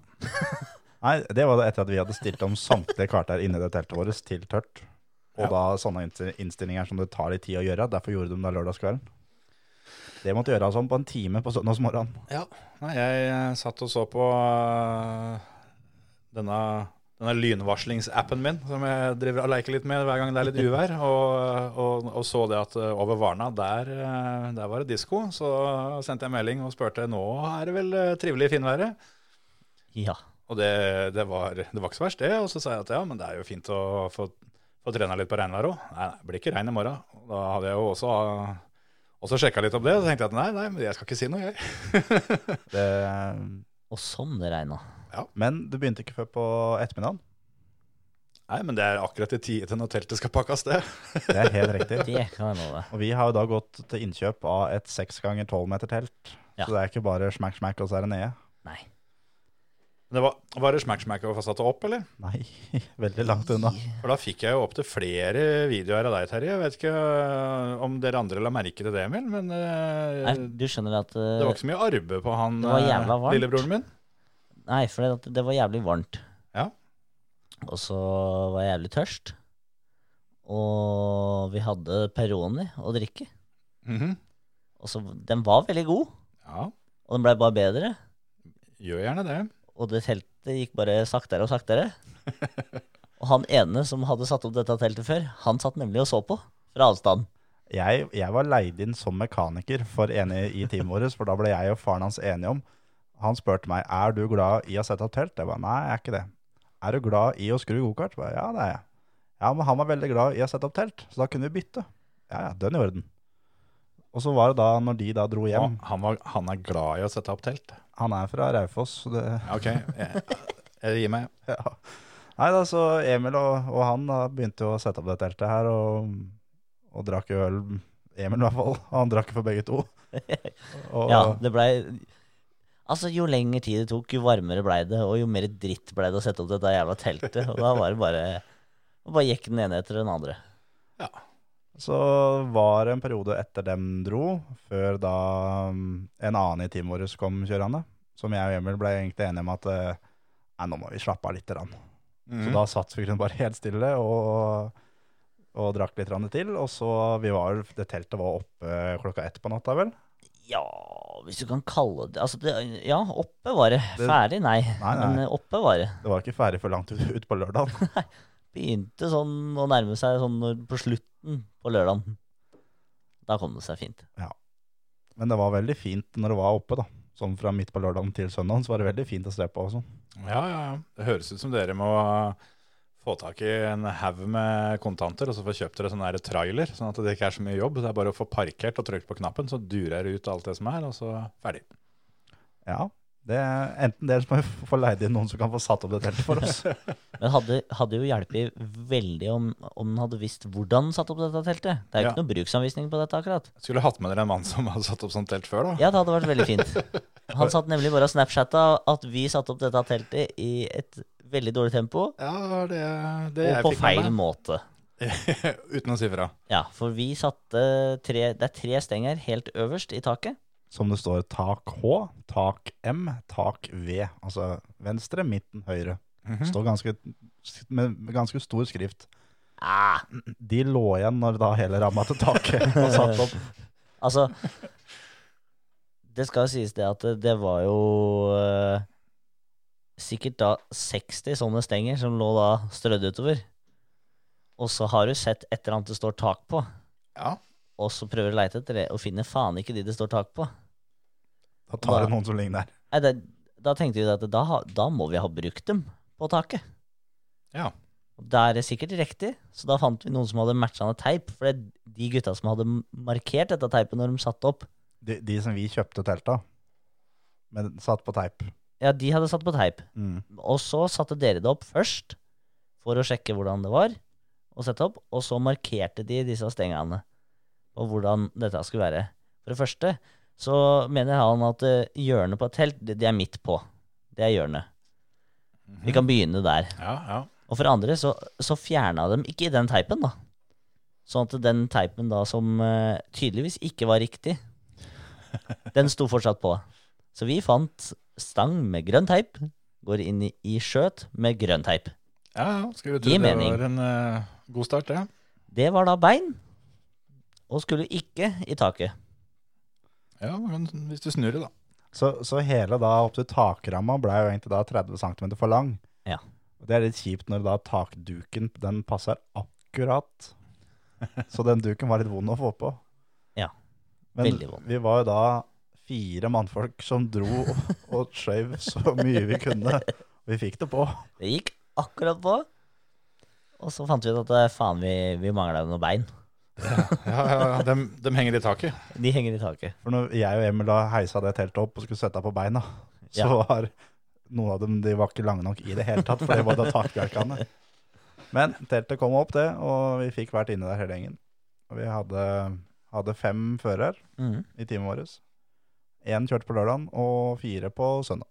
Speaker 5: Nei, det var det etter at vi hadde stilt om samtlige kvarter inni det teltet vårt til tørt. Og
Speaker 4: Ja.
Speaker 5: da sånne innst- innstillinger som det tar litt tid å gjøre. Derfor gjorde de det lørdagskvelden. Det måtte gjøres om på en time på søndagsmorgenen.
Speaker 4: Nei, jeg eh, satt og så på eh, denne, denne lynvarslingsappen min, som jeg driver og leker litt med hver gang det er litt uvær, og, og, og så det at eh, over Varna, der, eh, der var det disko. Så sendte jeg melding og spurte nå er det vel eh, trivelig i finværet.
Speaker 6: Ja.
Speaker 4: Og det, det, var, det var ikke så verst, det. Og så sa jeg at ja, men det er jo fint å få, få trena litt på regnvær òg. Nei, nei, det blir ikke regn i morgen. Og Da hadde jeg jo også, også sjekka litt opp det, og så tenkte jeg at nei, nei, men jeg skal ikke si noe, jeg.
Speaker 5: Det-
Speaker 6: Og sånn det regna.
Speaker 5: Men det begynte ikke før på ettermiddagen.
Speaker 4: Nei, men det er akkurat i tide til når teltet skal pakkes, det.
Speaker 5: Det er helt riktig.
Speaker 6: Det kan jeg love.
Speaker 5: Og vi har jo da gått til innkjøp av et seks ganger tolv meter telt.
Speaker 6: Ja.
Speaker 5: Så det er ikke bare smack, smack, og så er det nede.
Speaker 6: Nei.
Speaker 4: Men Det var, var det smack smack over satte opp, eller?
Speaker 5: Nei, veldig langt unna.
Speaker 4: For da fikk jeg jo opp til flere videoer av deg, Terje. Jeg vet ikke øh, om dere andre la merke til det, Emil, men øh,
Speaker 6: Nei, du skjønner at eh,
Speaker 4: det var ikke så mye arbeid på han
Speaker 6: Det var
Speaker 4: øh,
Speaker 6: jævla varmt.
Speaker 4: lillebroren min.
Speaker 6: Nei, for det, at det var jævlig varmt.
Speaker 4: Ja.
Speaker 6: Og så var jeg jævlig tørst. Og vi hadde Peroni å drikke.
Speaker 4: Mhm.
Speaker 6: Og så, den var veldig god,
Speaker 4: Ja,
Speaker 6: og den blei bare bedre.
Speaker 4: gjør gjerne det.
Speaker 6: Og det teltet gikk bare saktere og saktere. og han ene som hadde satt opp dette teltet før, han satt nemlig og så på fra avstand.
Speaker 5: Jeg, jeg var leid inn som mekaniker for enig i teamet vårt, for da ble jeg og faren hans enige om. Han spurte meg er du glad i å sette opp telt. Jeg bare nei, jeg er ikke det. Er du glad i å skru gokart? Jeg bare, Ja, det er jeg. Ja, men han var veldig glad i å sette opp telt, så da kunne vi bytte. Ja, ja, den i orden. Og så var det da, når de da dro hjem
Speaker 4: Han, han, var, han er glad i å sette opp telt.
Speaker 5: Han er fra Raufoss, så det
Speaker 4: Ja, OK, jeg, jeg gir meg.
Speaker 5: Ja. Nei da, så Emil og, og han da begynte jo å sette opp det teltet her, og, og drakk jo øl. Emil i hvert fall. Han drakk for begge to. Og,
Speaker 6: Ja, det blei Altså, jo lengre tid det tok, jo varmere blei det, og jo mer dritt blei det å sette opp dette jævla teltet. Og da var det bare og Bare gikk den ene etter den andre.
Speaker 5: Så var det en periode etter dem dro, før da um, en annen i teamet vårt kom kjørende, som jeg og Emil ble egentlig enige om at eh, nei, nå må vi slappe av litt. Rann. Så
Speaker 4: Mhm.
Speaker 5: da satt vi grunnen bare helt stille og, og drakk litt rann til. Og så vi var, det teltet var oppe klokka ett på natta, vel?
Speaker 6: Ja, hvis du kan kalle det Altså, det, ja, oppe var det. Ferdig, nei.
Speaker 5: Nei, nei.
Speaker 6: Men eh, oppe var det.
Speaker 5: Det var ikke ferdig for langt ut, ut på lørdag.
Speaker 6: Begynte sånn å nærme seg sånn når- på slutten på lørdagen. Da kom det seg fint.
Speaker 5: Men det var veldig fint når det var oppe, da. Sånn fra midt på lørdagen til søndagen, så var det veldig fint å se på sånn. også.
Speaker 4: Ja, ja, ja. Det høres ut som dere må få tak i en haug med kontanter, og så få kjøpt dere sånn der trailer, sånn at det ikke er så mye jobb. Det er bare å få parkert og trykt på knappen, så durer det ut alt det som er, og så ferdig.
Speaker 5: Ja, det er enten det, eller så må vi få leid inn noen som kan få satt opp det teltet for oss.
Speaker 6: Men hadde, hadde jo hjulpet veldig om, om den hadde visst hvordan den satte opp dette teltet. Det er jo
Speaker 4: Ja.
Speaker 6: ikke noen bruksanvisning på dette akkurat.
Speaker 4: Skulle hatt med dere en mann som hadde satt opp sånt telt før, da.
Speaker 6: Ja, det hadde vært veldig fint. Han satt nemlig bare og snapchatta at vi satte opp dette teltet i et veldig dårlig tempo,
Speaker 4: Ja, det var det, det
Speaker 6: og
Speaker 4: jeg
Speaker 6: på
Speaker 4: fikk
Speaker 6: feil
Speaker 4: med meg.
Speaker 6: måte.
Speaker 4: Uten å si fra.
Speaker 6: Ja, for vi satte tre Det er tre stenger helt øverst i taket.
Speaker 5: Som det står tak H, tak M, tak V. Altså venstre, midten, høyre.
Speaker 6: Mhm.
Speaker 5: Det Står ganske, med med ganske stor skrift.
Speaker 6: Ah,
Speaker 5: De lå igjen når da hele ramma til taket var satt opp.
Speaker 6: altså Det skal jo sies det at det var jo eh, sikkert da 60 sånne stenger som lå da strødd utover. Og så har du sett et eller annet det står tak på,
Speaker 4: Ja.
Speaker 6: og så prøver du å leite etter det, og finner faen ikke de det står tak på.
Speaker 5: Da tar det noen som ligner.
Speaker 6: Nei, det, da tenkte vi at da, ha- da må vi ha brukt dem på taket.
Speaker 4: Ja.
Speaker 6: Og Da er det sikkert riktig, så da fant vi noen som hadde matchende teip. For det, de gutta som hadde markert dette teipet når de satte opp,
Speaker 5: De, de som vi kjøpte telt av, men satt på teip.
Speaker 6: ja, de hadde satt på teip.
Speaker 5: Mm.
Speaker 6: Og så satte dere det opp først for å sjekke hvordan det var, og sette opp, og så markerte de disse stengene og hvordan dette skulle være. For det første så mener han at eh, hjørnet på et telt, det, det er midt på. Det er hjørnet. Vi kan begynne der.
Speaker 4: Ja, ja.
Speaker 6: Og for andre så, så fjerna de ikke den teipen, da. Sånn at den teipen da som eh, tydeligvis ikke var riktig, den sto fortsatt på. Så vi fant stang med grønn teip, går inn i, i skjøt med grønn teip.
Speaker 4: ja, ja. Skal vi
Speaker 6: Gi
Speaker 4: tro det
Speaker 6: mening.
Speaker 4: var en eh, god start, det.
Speaker 6: Det var da bein, og skulle ikke i taket.
Speaker 4: Ja, men hvis du snur det, da.
Speaker 5: Så, så hele da opp til takramma ble jo egentlig da 30 cm for lang.
Speaker 6: Ja.
Speaker 5: Og Det er litt kjipt når da takduken den passer akkurat. Så den duken var litt vond å få på.
Speaker 6: Ja,
Speaker 5: Men
Speaker 6: veldig vond.
Speaker 5: vi var jo da fire mannfolk som dro og, og skjøv så mye vi kunne. Vi fikk det på.
Speaker 6: Det gikk akkurat på. Og så fant vi ut at eh, faen, vi, vi mangla jo noen bein.
Speaker 4: Ja, ja, ja. Dem, dem henger i taket.
Speaker 6: De henger i taket.
Speaker 5: For når jeg og Emil da heisa det teltet opp og skulle sette deg på beina, så
Speaker 6: Ja.
Speaker 5: var noen av dem de var ikke lange nok i det hele tatt, for det var da takbjelkene. Men teltet kom opp, det, og vi fikk vært inne der hele gjengen. Og vi hadde, hadde fem fører
Speaker 6: Mhm.
Speaker 5: i teamet vårt. Én kjørte på lørdagen, og fire på søndag.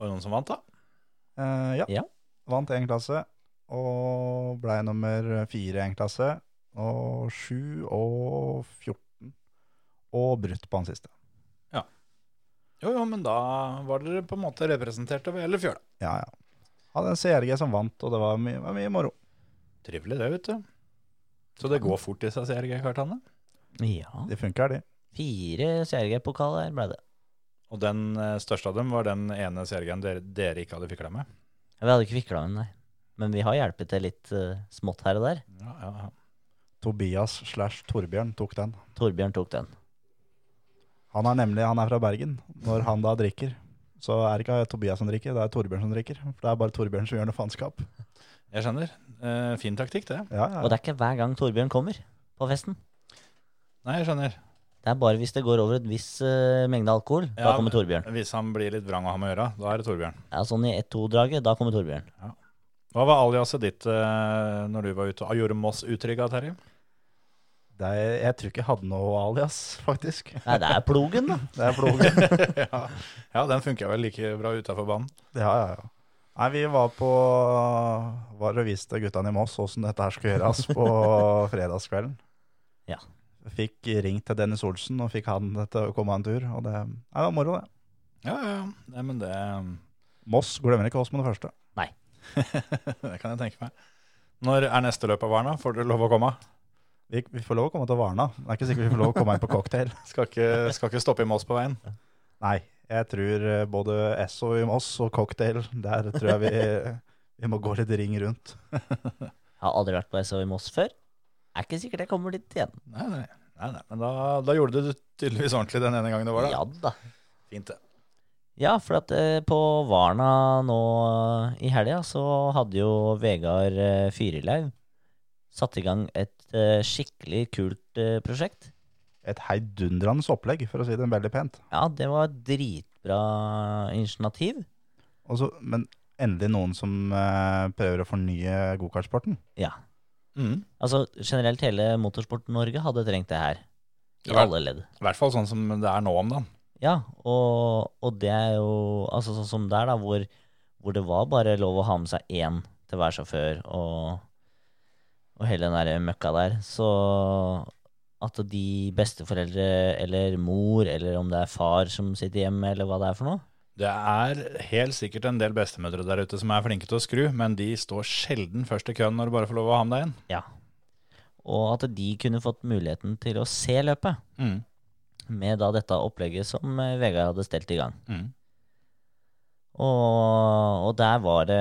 Speaker 4: Var det noen som vant, da?
Speaker 5: Eh, ja.
Speaker 6: Ja.
Speaker 5: Vant én klasse, og blei nummer fire i én klasse. Og sju og 14. Og brutt på han siste.
Speaker 4: Jo, jo, men da var dere på en måte representert over hele fjøla.
Speaker 5: Ja, ja. Hadde en CRG som vant, og det var mye, var mye moro.
Speaker 4: Trivelig det, vet du. Så det går fort i seg, CRG-kartene.
Speaker 6: Ja.
Speaker 5: De funker, de.
Speaker 6: Fire CRG-pokaler ble det.
Speaker 4: Og den eh, største av dem var den ene CRG-en dere, dere ikke hadde fikla med.
Speaker 6: Vi hadde ikke fikla den, nei. Men vi har hjulpet til litt eh, smått her og der.
Speaker 4: Ja, ja, ja.
Speaker 5: Tobias slash Torbjørn tok den.
Speaker 6: Torbjørn tok den.
Speaker 5: Han er nemlig han er fra Bergen. Når han da drikker, så er det ikke Tobias som drikker, det er Torbjørn som drikker. For det er bare Torbjørn som gjør noe faenskap.
Speaker 4: Jeg skjønner. Eh, fin taktikk, det.
Speaker 5: Ja,
Speaker 6: Og
Speaker 5: ja.
Speaker 6: det er ikke hver gang Torbjørn kommer på festen.
Speaker 4: Nei, jeg skjønner.
Speaker 6: Det er bare hvis det går over et viss eh, mengde alkohol. da
Speaker 4: Ja,
Speaker 6: kommer Torbjørn.
Speaker 4: Hvis han blir litt vrang å ha med å gjøre, da er det Torbjørn.
Speaker 6: Ja, sånn i ett-to-draget, da kommer Torbjørn.
Speaker 4: Hva var aliaset ditt eh, når du var ute? og Gjorde Moss utrygg av Terje?
Speaker 5: Det er, jeg tror ikke jeg hadde noe alias, faktisk.
Speaker 6: Nei, det er plogen, da.
Speaker 5: Det er plogen.
Speaker 4: ja. ja, den funker vel like bra utafor banen.
Speaker 5: Ja, ja, ja. Nei, vi var på Var og viste guttene i Moss åssen dette her skulle gjøres på fredagskvelden.
Speaker 6: Ja.
Speaker 5: Fikk ringt til Dennis Olsen og fikk han til å komme en tur. Og det, nei, det var moro, det.
Speaker 4: Ja, ja, ja. Nei, men det,
Speaker 5: Moss glemmer ikke oss med det første.
Speaker 4: det kan jeg tenke meg. Når er neste løp av Varna? Får dere lov å komme?
Speaker 5: Vi, vi får lov å komme til Varna. Det er ikke sikkert vi får lov å komme inn på cocktail.
Speaker 4: Skal ikke, skal ikke stoppe i Moss på veien.
Speaker 5: Nei, jeg tror eh, både Esso i Moss og cocktail, der tror jeg vi, vi må gå litt ring rundt.
Speaker 6: Jeg har aldri vært på SO i Moss før. Er ikke sikkert jeg kommer dit igjen.
Speaker 4: Nei, nei. nei, nei. Men da, da gjorde du det tydeligvis ordentlig den ene gangen du var der.
Speaker 6: Ja da.
Speaker 4: Fint, det.
Speaker 6: Ja, for at eh, på Varna nå eh, i helga så hadde jo Vegard eh, Fyrilaug satt i gang et eh, skikkelig kult eh, prosjekt.
Speaker 5: Et heidundrende opplegg, for å si det veldig pent.
Speaker 6: Ja, det var et dritbra initiativ.
Speaker 5: Og så- men endelig noen som eh, prøver å fornye gokartsporten.
Speaker 6: Ja.
Speaker 4: Mm.
Speaker 6: Altså, generelt hele Motorsport Norge hadde trengt det her. I
Speaker 4: Ja vel.
Speaker 6: alle ledd.
Speaker 4: I hvert fall sånn som det er nå om dagen.
Speaker 6: Ja, og, og det er jo Altså sånn som der, da, hvor, hvor det var bare lov å ha med seg én til hver sjåfør, og, og hele den der møkka der, så at de besteforeldre, eller mor, eller om det er far som sitter hjemme, eller hva det er for noe
Speaker 4: Det er helt sikkert en del bestemødre der ute som er flinke til å skru, men de står sjelden først i køen når du bare får lov å ha med deg en.
Speaker 6: Ja. Og at de kunne fått muligheten til å se løpet.
Speaker 4: Mm.
Speaker 6: med da dette opplegget som eh, Vegard hadde stelt i gang.
Speaker 4: Mm.
Speaker 6: Og, og der var det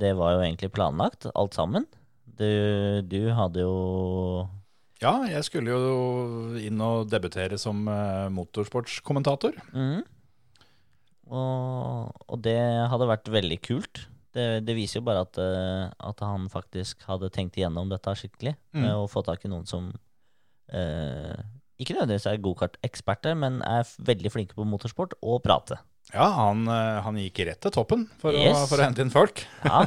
Speaker 6: Det var jo egentlig planlagt, alt sammen. Du, du hadde jo
Speaker 4: Ja, jeg skulle jo inn og debutere som eh, motorsportskommentator.
Speaker 6: Mhm. og, og det hadde vært veldig kult. Det, det viser jo bare at, eh, at han faktisk hadde tenkt igjennom dette skikkelig. Med å få tak i noen som eh, ikke nødvendigvis er gokarteksperter, men er f- veldig flinke på motorsport og prate.
Speaker 4: Ja, han, eh, han gikk rett til toppen for, å,
Speaker 6: Yes.
Speaker 4: for å hente inn folk.
Speaker 6: Ja.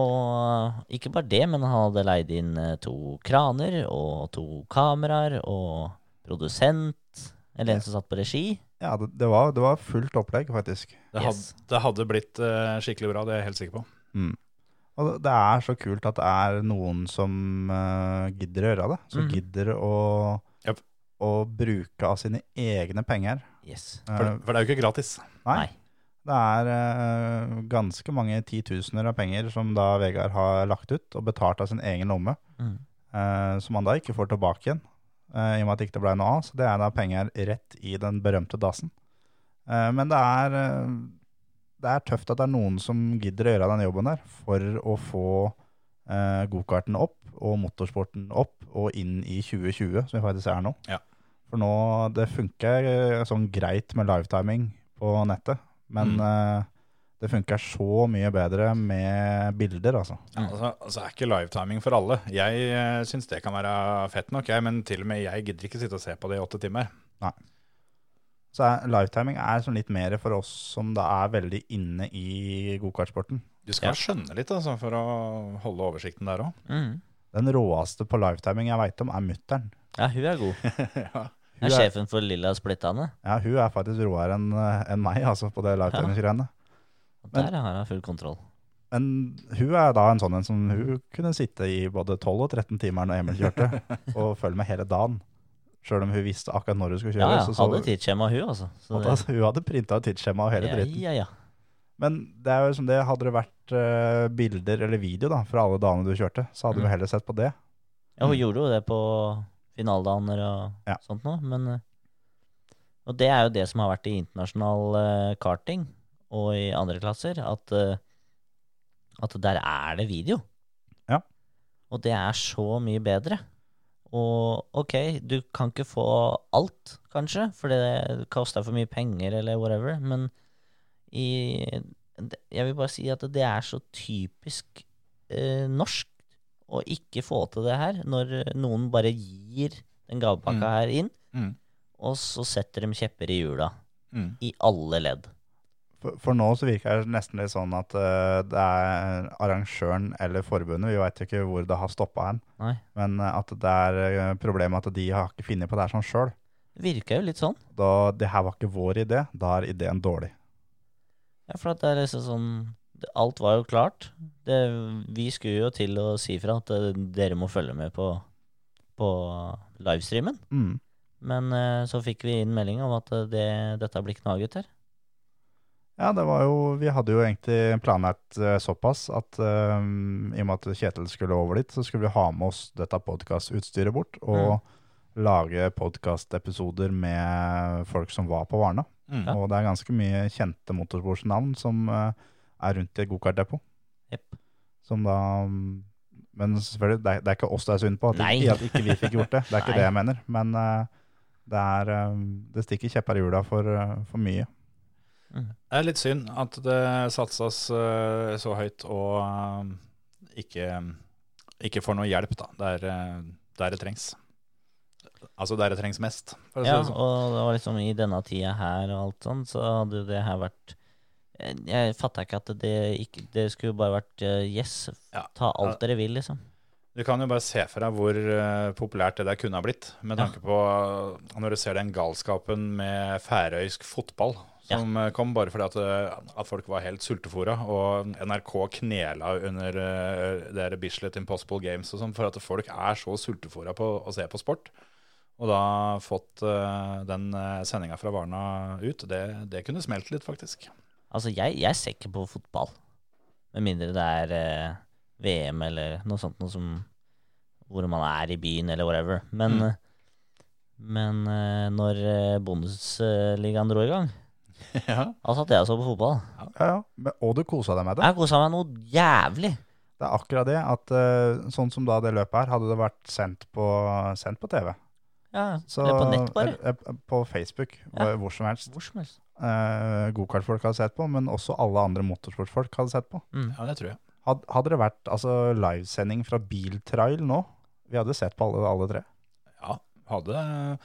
Speaker 6: Og ikke bare det, men han hadde leid inn eh, to kraner og to kameraer og produsent, eller en som satt på regi.
Speaker 5: Ja, det, det, var, det var fullt opplegg, faktisk.
Speaker 4: Det,
Speaker 6: Yes.
Speaker 4: hadde, det hadde blitt eh, skikkelig bra, det er jeg helt sikker på.
Speaker 5: Mm. Og det- det er så kult at det er noen som eh, gidder å gjøre det. Som
Speaker 1: Mhm.
Speaker 5: gidder å,
Speaker 4: Japp.
Speaker 5: å bruke av sine egne penger.
Speaker 6: Yes.
Speaker 5: Eh,
Speaker 4: For, for det er jo ikke gratis.
Speaker 5: nei. Det er eh, ganske mange titusener av penger som da Vegard har lagt ut og betalt av sin egen lomme,
Speaker 6: Mm.
Speaker 5: eh, som han da ikke får tilbake igjen, eh, i og med at det ikke ble noe av. Så det er da penger rett i den berømte dassen. Eh, men det er, eh, det er tøft at det er noen som gidder å gjøre den jobben der, for å få eh, gokarten opp og motorsporten opp og inn i 2020, som vi faktisk er nå.
Speaker 4: Ja.
Speaker 5: For nå, det funker eh, sånn greit med livetiming på nettet, men eh, det funker så mye bedre med bilder, altså.
Speaker 4: Ja, altså, altså er ikke livetiming for alle. Jeg uh, syns det kan være fett nok, jeg, men til og med jeg gidder ikke sitte og se på det i åtte timer.
Speaker 5: Så er, livetiming er sånn litt mer for oss som da er veldig inne i gokartsporten.
Speaker 4: Du skal skjønne litt altså, for å holde oversikten der òg.
Speaker 6: Mm.
Speaker 5: Den råeste på livetiming jeg veit om, er mutter'n.
Speaker 6: Ja, hun er god.
Speaker 4: ja.
Speaker 6: Hun er sjefen for Lilla Splittane.
Speaker 5: Ja, hun er faktisk råere enn enn meg, altså, på det livetiming-greiene.
Speaker 6: Og
Speaker 5: Men-
Speaker 6: Der har hun full kontroll.
Speaker 5: Men hun er da en sånn en som hun kunne sitte i både 12 og 13 timer når Emil kjørte, og følge med hele dagen. Sjøl om hun visste akkurat når hun skulle
Speaker 6: Ja,
Speaker 5: kjøre.
Speaker 6: ja.
Speaker 5: så så
Speaker 6: Hadde tidsskjema, hun, altså. Så
Speaker 5: at,
Speaker 6: det-
Speaker 5: altså, hun hadde printa ut tidsskjema og hele
Speaker 6: ja,
Speaker 5: dritten.
Speaker 6: ja, ja.
Speaker 5: Men det er jo som det, hadde det vært eh, bilder eller video da, fra alle dagene du kjørte, så hadde
Speaker 6: Mm.
Speaker 5: vi heller sett på det.
Speaker 6: ja, hun gjorde jo det på finaledaner og
Speaker 5: Mm. Ja.
Speaker 6: sånt nå, men eh, Og det er jo det som har vært i internasjonal eh, karting og i andre klasser, at, eh, at der er det video.
Speaker 5: Ja.
Speaker 6: Og det er så mye bedre. Og ok, du kan ikke få alt, kanskje, for det koster for mye penger eller whatever, men i Jeg vil bare si at det er så typisk eh, norsk å ikke få til det her, når noen bare gir den gavepakka
Speaker 4: Mm.
Speaker 6: her inn,
Speaker 4: Mm.
Speaker 6: og så setter de kjepper i hjula.
Speaker 4: Mm.
Speaker 6: I alle ledd.
Speaker 5: For, for nå så virker det nesten litt sånn at eh, det er arrangøren eller forbundet, vi veit jo ikke hvor det har stoppa hen,
Speaker 6: Nei.
Speaker 5: men eh, at det er eh, problemet at de har ikke funnet på det her sånn sjøl.
Speaker 6: Virka jo litt sånn.
Speaker 5: Da det her var ikke vår idé, da er ideen dårlig.
Speaker 6: Ja, for at det er liksom sånn det- Alt var jo klart. Det, vi skulle jo til å si fra at eh, dere må følge med på, på livestreamen.
Speaker 5: Mm.
Speaker 6: Men eh, så fikk vi inn melding om at eh, det, dette blir ikke noe av, gutter.
Speaker 5: Ja, det var jo, vi hadde jo egentlig planlagt eh, såpass at eh, i og med at Kjetil skulle over dit, så skulle vi ha med oss dette podcastutstyret bort og lage podcastepisoder med folk som var på Varna.
Speaker 4: Mm.
Speaker 5: Og det er ganske mye kjente motorsportsnavn som eh, er rundt i gokartdepot.
Speaker 6: Jepp.
Speaker 5: Som da mm, Men selvfølgelig, det er, det er ikke oss det er synd på, at,
Speaker 6: Nei.
Speaker 5: ikke, at ikke vi fikk gjort det. Det er ikke
Speaker 6: Nei.
Speaker 5: det jeg mener. Men eh, det, er, eh, det stikker kjepper i hjula for, eh, for mye.
Speaker 4: Det er litt synd at det satses eh, så høyt og eh, ikke, ikke får noe hjelp da, der, eh, der det trengs. Altså der det trengs mest. For å si
Speaker 6: Ja,
Speaker 4: det sånn.
Speaker 6: og det var liksom i denne tida her og alt sånn, så hadde jo det her vært Jeg, jeg fatta ikke at det ikke Det skulle bare vært eh, yes,
Speaker 4: Ja.
Speaker 6: ta alt dere vil, liksom.
Speaker 4: Du kan jo bare se for deg hvor eh, populært det der kunne ha blitt, med
Speaker 6: Ja.
Speaker 4: tanke på eh, når du ser den galskapen med færøysk fotball som eh, kom bare fordi at, eh, at folk var helt sultefora, og NRK knela under eh, det der Bislett Impossible Games og sånn, for at folk er så sultefora på å se på sport. Og da fått eh, den uh, sendinga fra Varna ut, det, det kunne smelt litt, faktisk.
Speaker 6: Altså, jeg, jeg ser ikke på fotball. Med mindre det er eh, VM eller noe sånt noe som Hvor man er i byen eller whatever. Men,
Speaker 4: Mm.
Speaker 6: eh, men eh, når eh, Bundesligaen dro i gang,
Speaker 4: ja.
Speaker 6: da satt jeg og så på fotball.
Speaker 5: Ja, ja. Men, og du kosa deg med det.
Speaker 6: Jeg kosa meg noe jævlig.
Speaker 5: Det er akkurat det at eh, sånn som da det løpet her, hadde det vært sendt på, sendt på TV.
Speaker 6: Ja,
Speaker 5: Så-
Speaker 6: Eller på nett, bare.
Speaker 5: eh, eh, På Facebook,
Speaker 6: Ja.
Speaker 5: hvor- hvor som helst.
Speaker 6: Hvor som helst.
Speaker 5: Eh, Gokartfolk hadde sett på, men også alle andre motorsportfolk hadde sett på.
Speaker 4: ja, det tror jeg.
Speaker 5: Had, hadde det vært altså, livesending fra biltrail nå, vi hadde sett på alle, alle tre.
Speaker 4: Ja, hadde,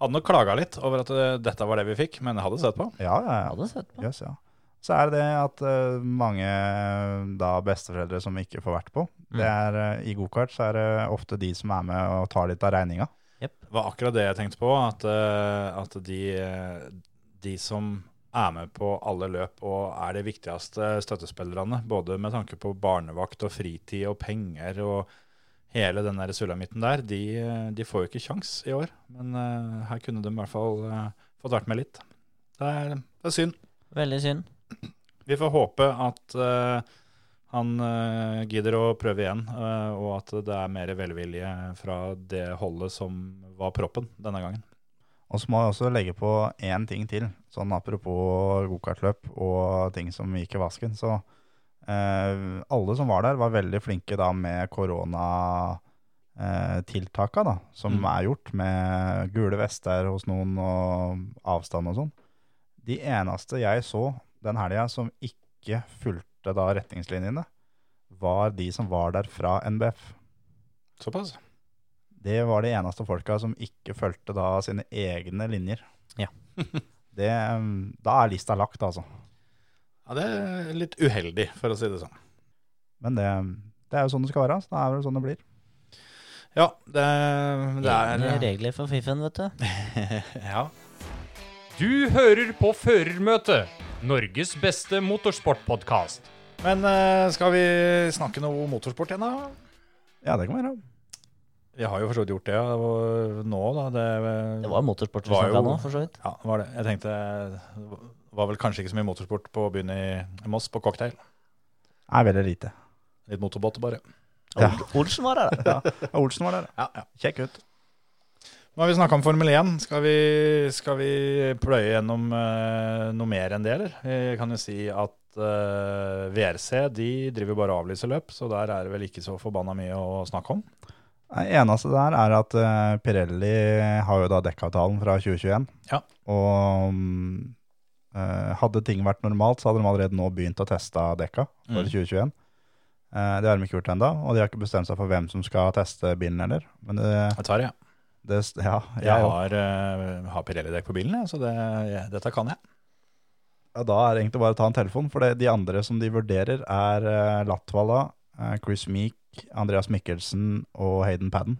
Speaker 4: hadde nok klaga litt over at eh, dette var det vi fikk, men jeg hadde sett på.
Speaker 5: Ja, ja, ja.
Speaker 6: Jeg hadde sett på.
Speaker 5: Yes, ja. Så er det det at eh, mange da besteforeldre som ikke får vært på,
Speaker 6: Mm.
Speaker 5: det er, eh, i gokart så er det ofte de som er med og tar litt av regninga.
Speaker 4: Det var akkurat det jeg tenkte på, at, eh, at de, eh, de som er med på alle løp og er de viktigste støttespillerne, både med tanke på barnevakt og fritid og penger og hele den der sulamitten der, de, eh, de får jo ikke kjangs i år. Men eh, her kunne de i hvert fall eh, fått vært med litt. Det er, det er synd.
Speaker 6: Veldig synd.
Speaker 4: Vi får håpe at eh, han eh, gidder å prøve igjen, eh, og at det er mer velvilje fra det holdet som var proppen denne gangen.
Speaker 5: Og så må jeg også legge på én ting til, sånn apropos gokartløp og ting som gikk i vasken. Så eh, alle som var der, var veldig flinke da med koronatiltaka eh, tiltaka da, som
Speaker 4: Mm.
Speaker 5: er gjort, med gule vester hos noen og avstand og sånn. De eneste jeg så den helga som ikke fulgte da retningslinjene, var de som var der fra NBF.
Speaker 4: Såpass.
Speaker 5: Det var de eneste folka som ikke fulgte da sine egne linjer.
Speaker 6: Ja.
Speaker 5: det, um, da er lista lagt, altså.
Speaker 4: Ja, det er litt uheldig, for å si det sånn.
Speaker 5: Men det, det er jo sånn det skal være. Så da er det sånn det blir.
Speaker 4: Ja, det, det
Speaker 6: Egne
Speaker 4: er eh,
Speaker 6: regler for Fiffen, vet du.
Speaker 4: Ja.
Speaker 1: Du hører på Førermøtet, Norges beste motorsportpodkast.
Speaker 4: Men eh, skal vi snakke noe motorsport igjen, da?
Speaker 5: Ja, det kan være.
Speaker 4: Vi har jo for så vidt gjort det og nå, da. Det,
Speaker 6: Det var motorsport vi
Speaker 4: Var
Speaker 6: snakka
Speaker 4: jo-
Speaker 6: nå, for så vidt.
Speaker 4: ja, var det. Jeg tenkte eh, det var vel kanskje ikke så mye motorsport på byen i Moss, på cocktail.
Speaker 5: Er veldig lite.
Speaker 4: Litt motorbåt, bare.
Speaker 5: Ja.
Speaker 6: Ol- Olsen var her, da.
Speaker 5: Ja. Olsen var der.
Speaker 4: Ja, ja.
Speaker 5: Kjekk gutt.
Speaker 4: Nå har vi snakka om Formel 1. Skal vi, skal vi pløye gjennom eh, noe mer enn det, eller? Vi kan jo si at eh, VRC de driver bare og avlyser løp, så der er det vel ikke så forbanna mye å snakke om.
Speaker 5: Det eneste der er at eh, Pirelli har jo da dekkavtalen fra 2021.
Speaker 4: Ja.
Speaker 5: Og mm, eh, hadde ting vært normalt, så hadde de allerede nå begynt å teste dekka for
Speaker 4: Mm.
Speaker 5: 2021. Eh, det har de ikke gjort ennå, og de har ikke bestemt seg for hvem som skal teste bilen heller. Men det,
Speaker 4: Jeg tar det, jeg.
Speaker 5: det Ja, jeg
Speaker 4: Jeg
Speaker 5: òg.
Speaker 4: har, eh, har Pirelli-dekk på bilen, jeg, så det, jeg- dette kan jeg.
Speaker 5: Ja, da er det egentlig bare å ta en telefon, for det, de andre som de vurderer er eh, Latvala, eh, Chris Meek, Andreas Mikkelsen og Hayden Padden.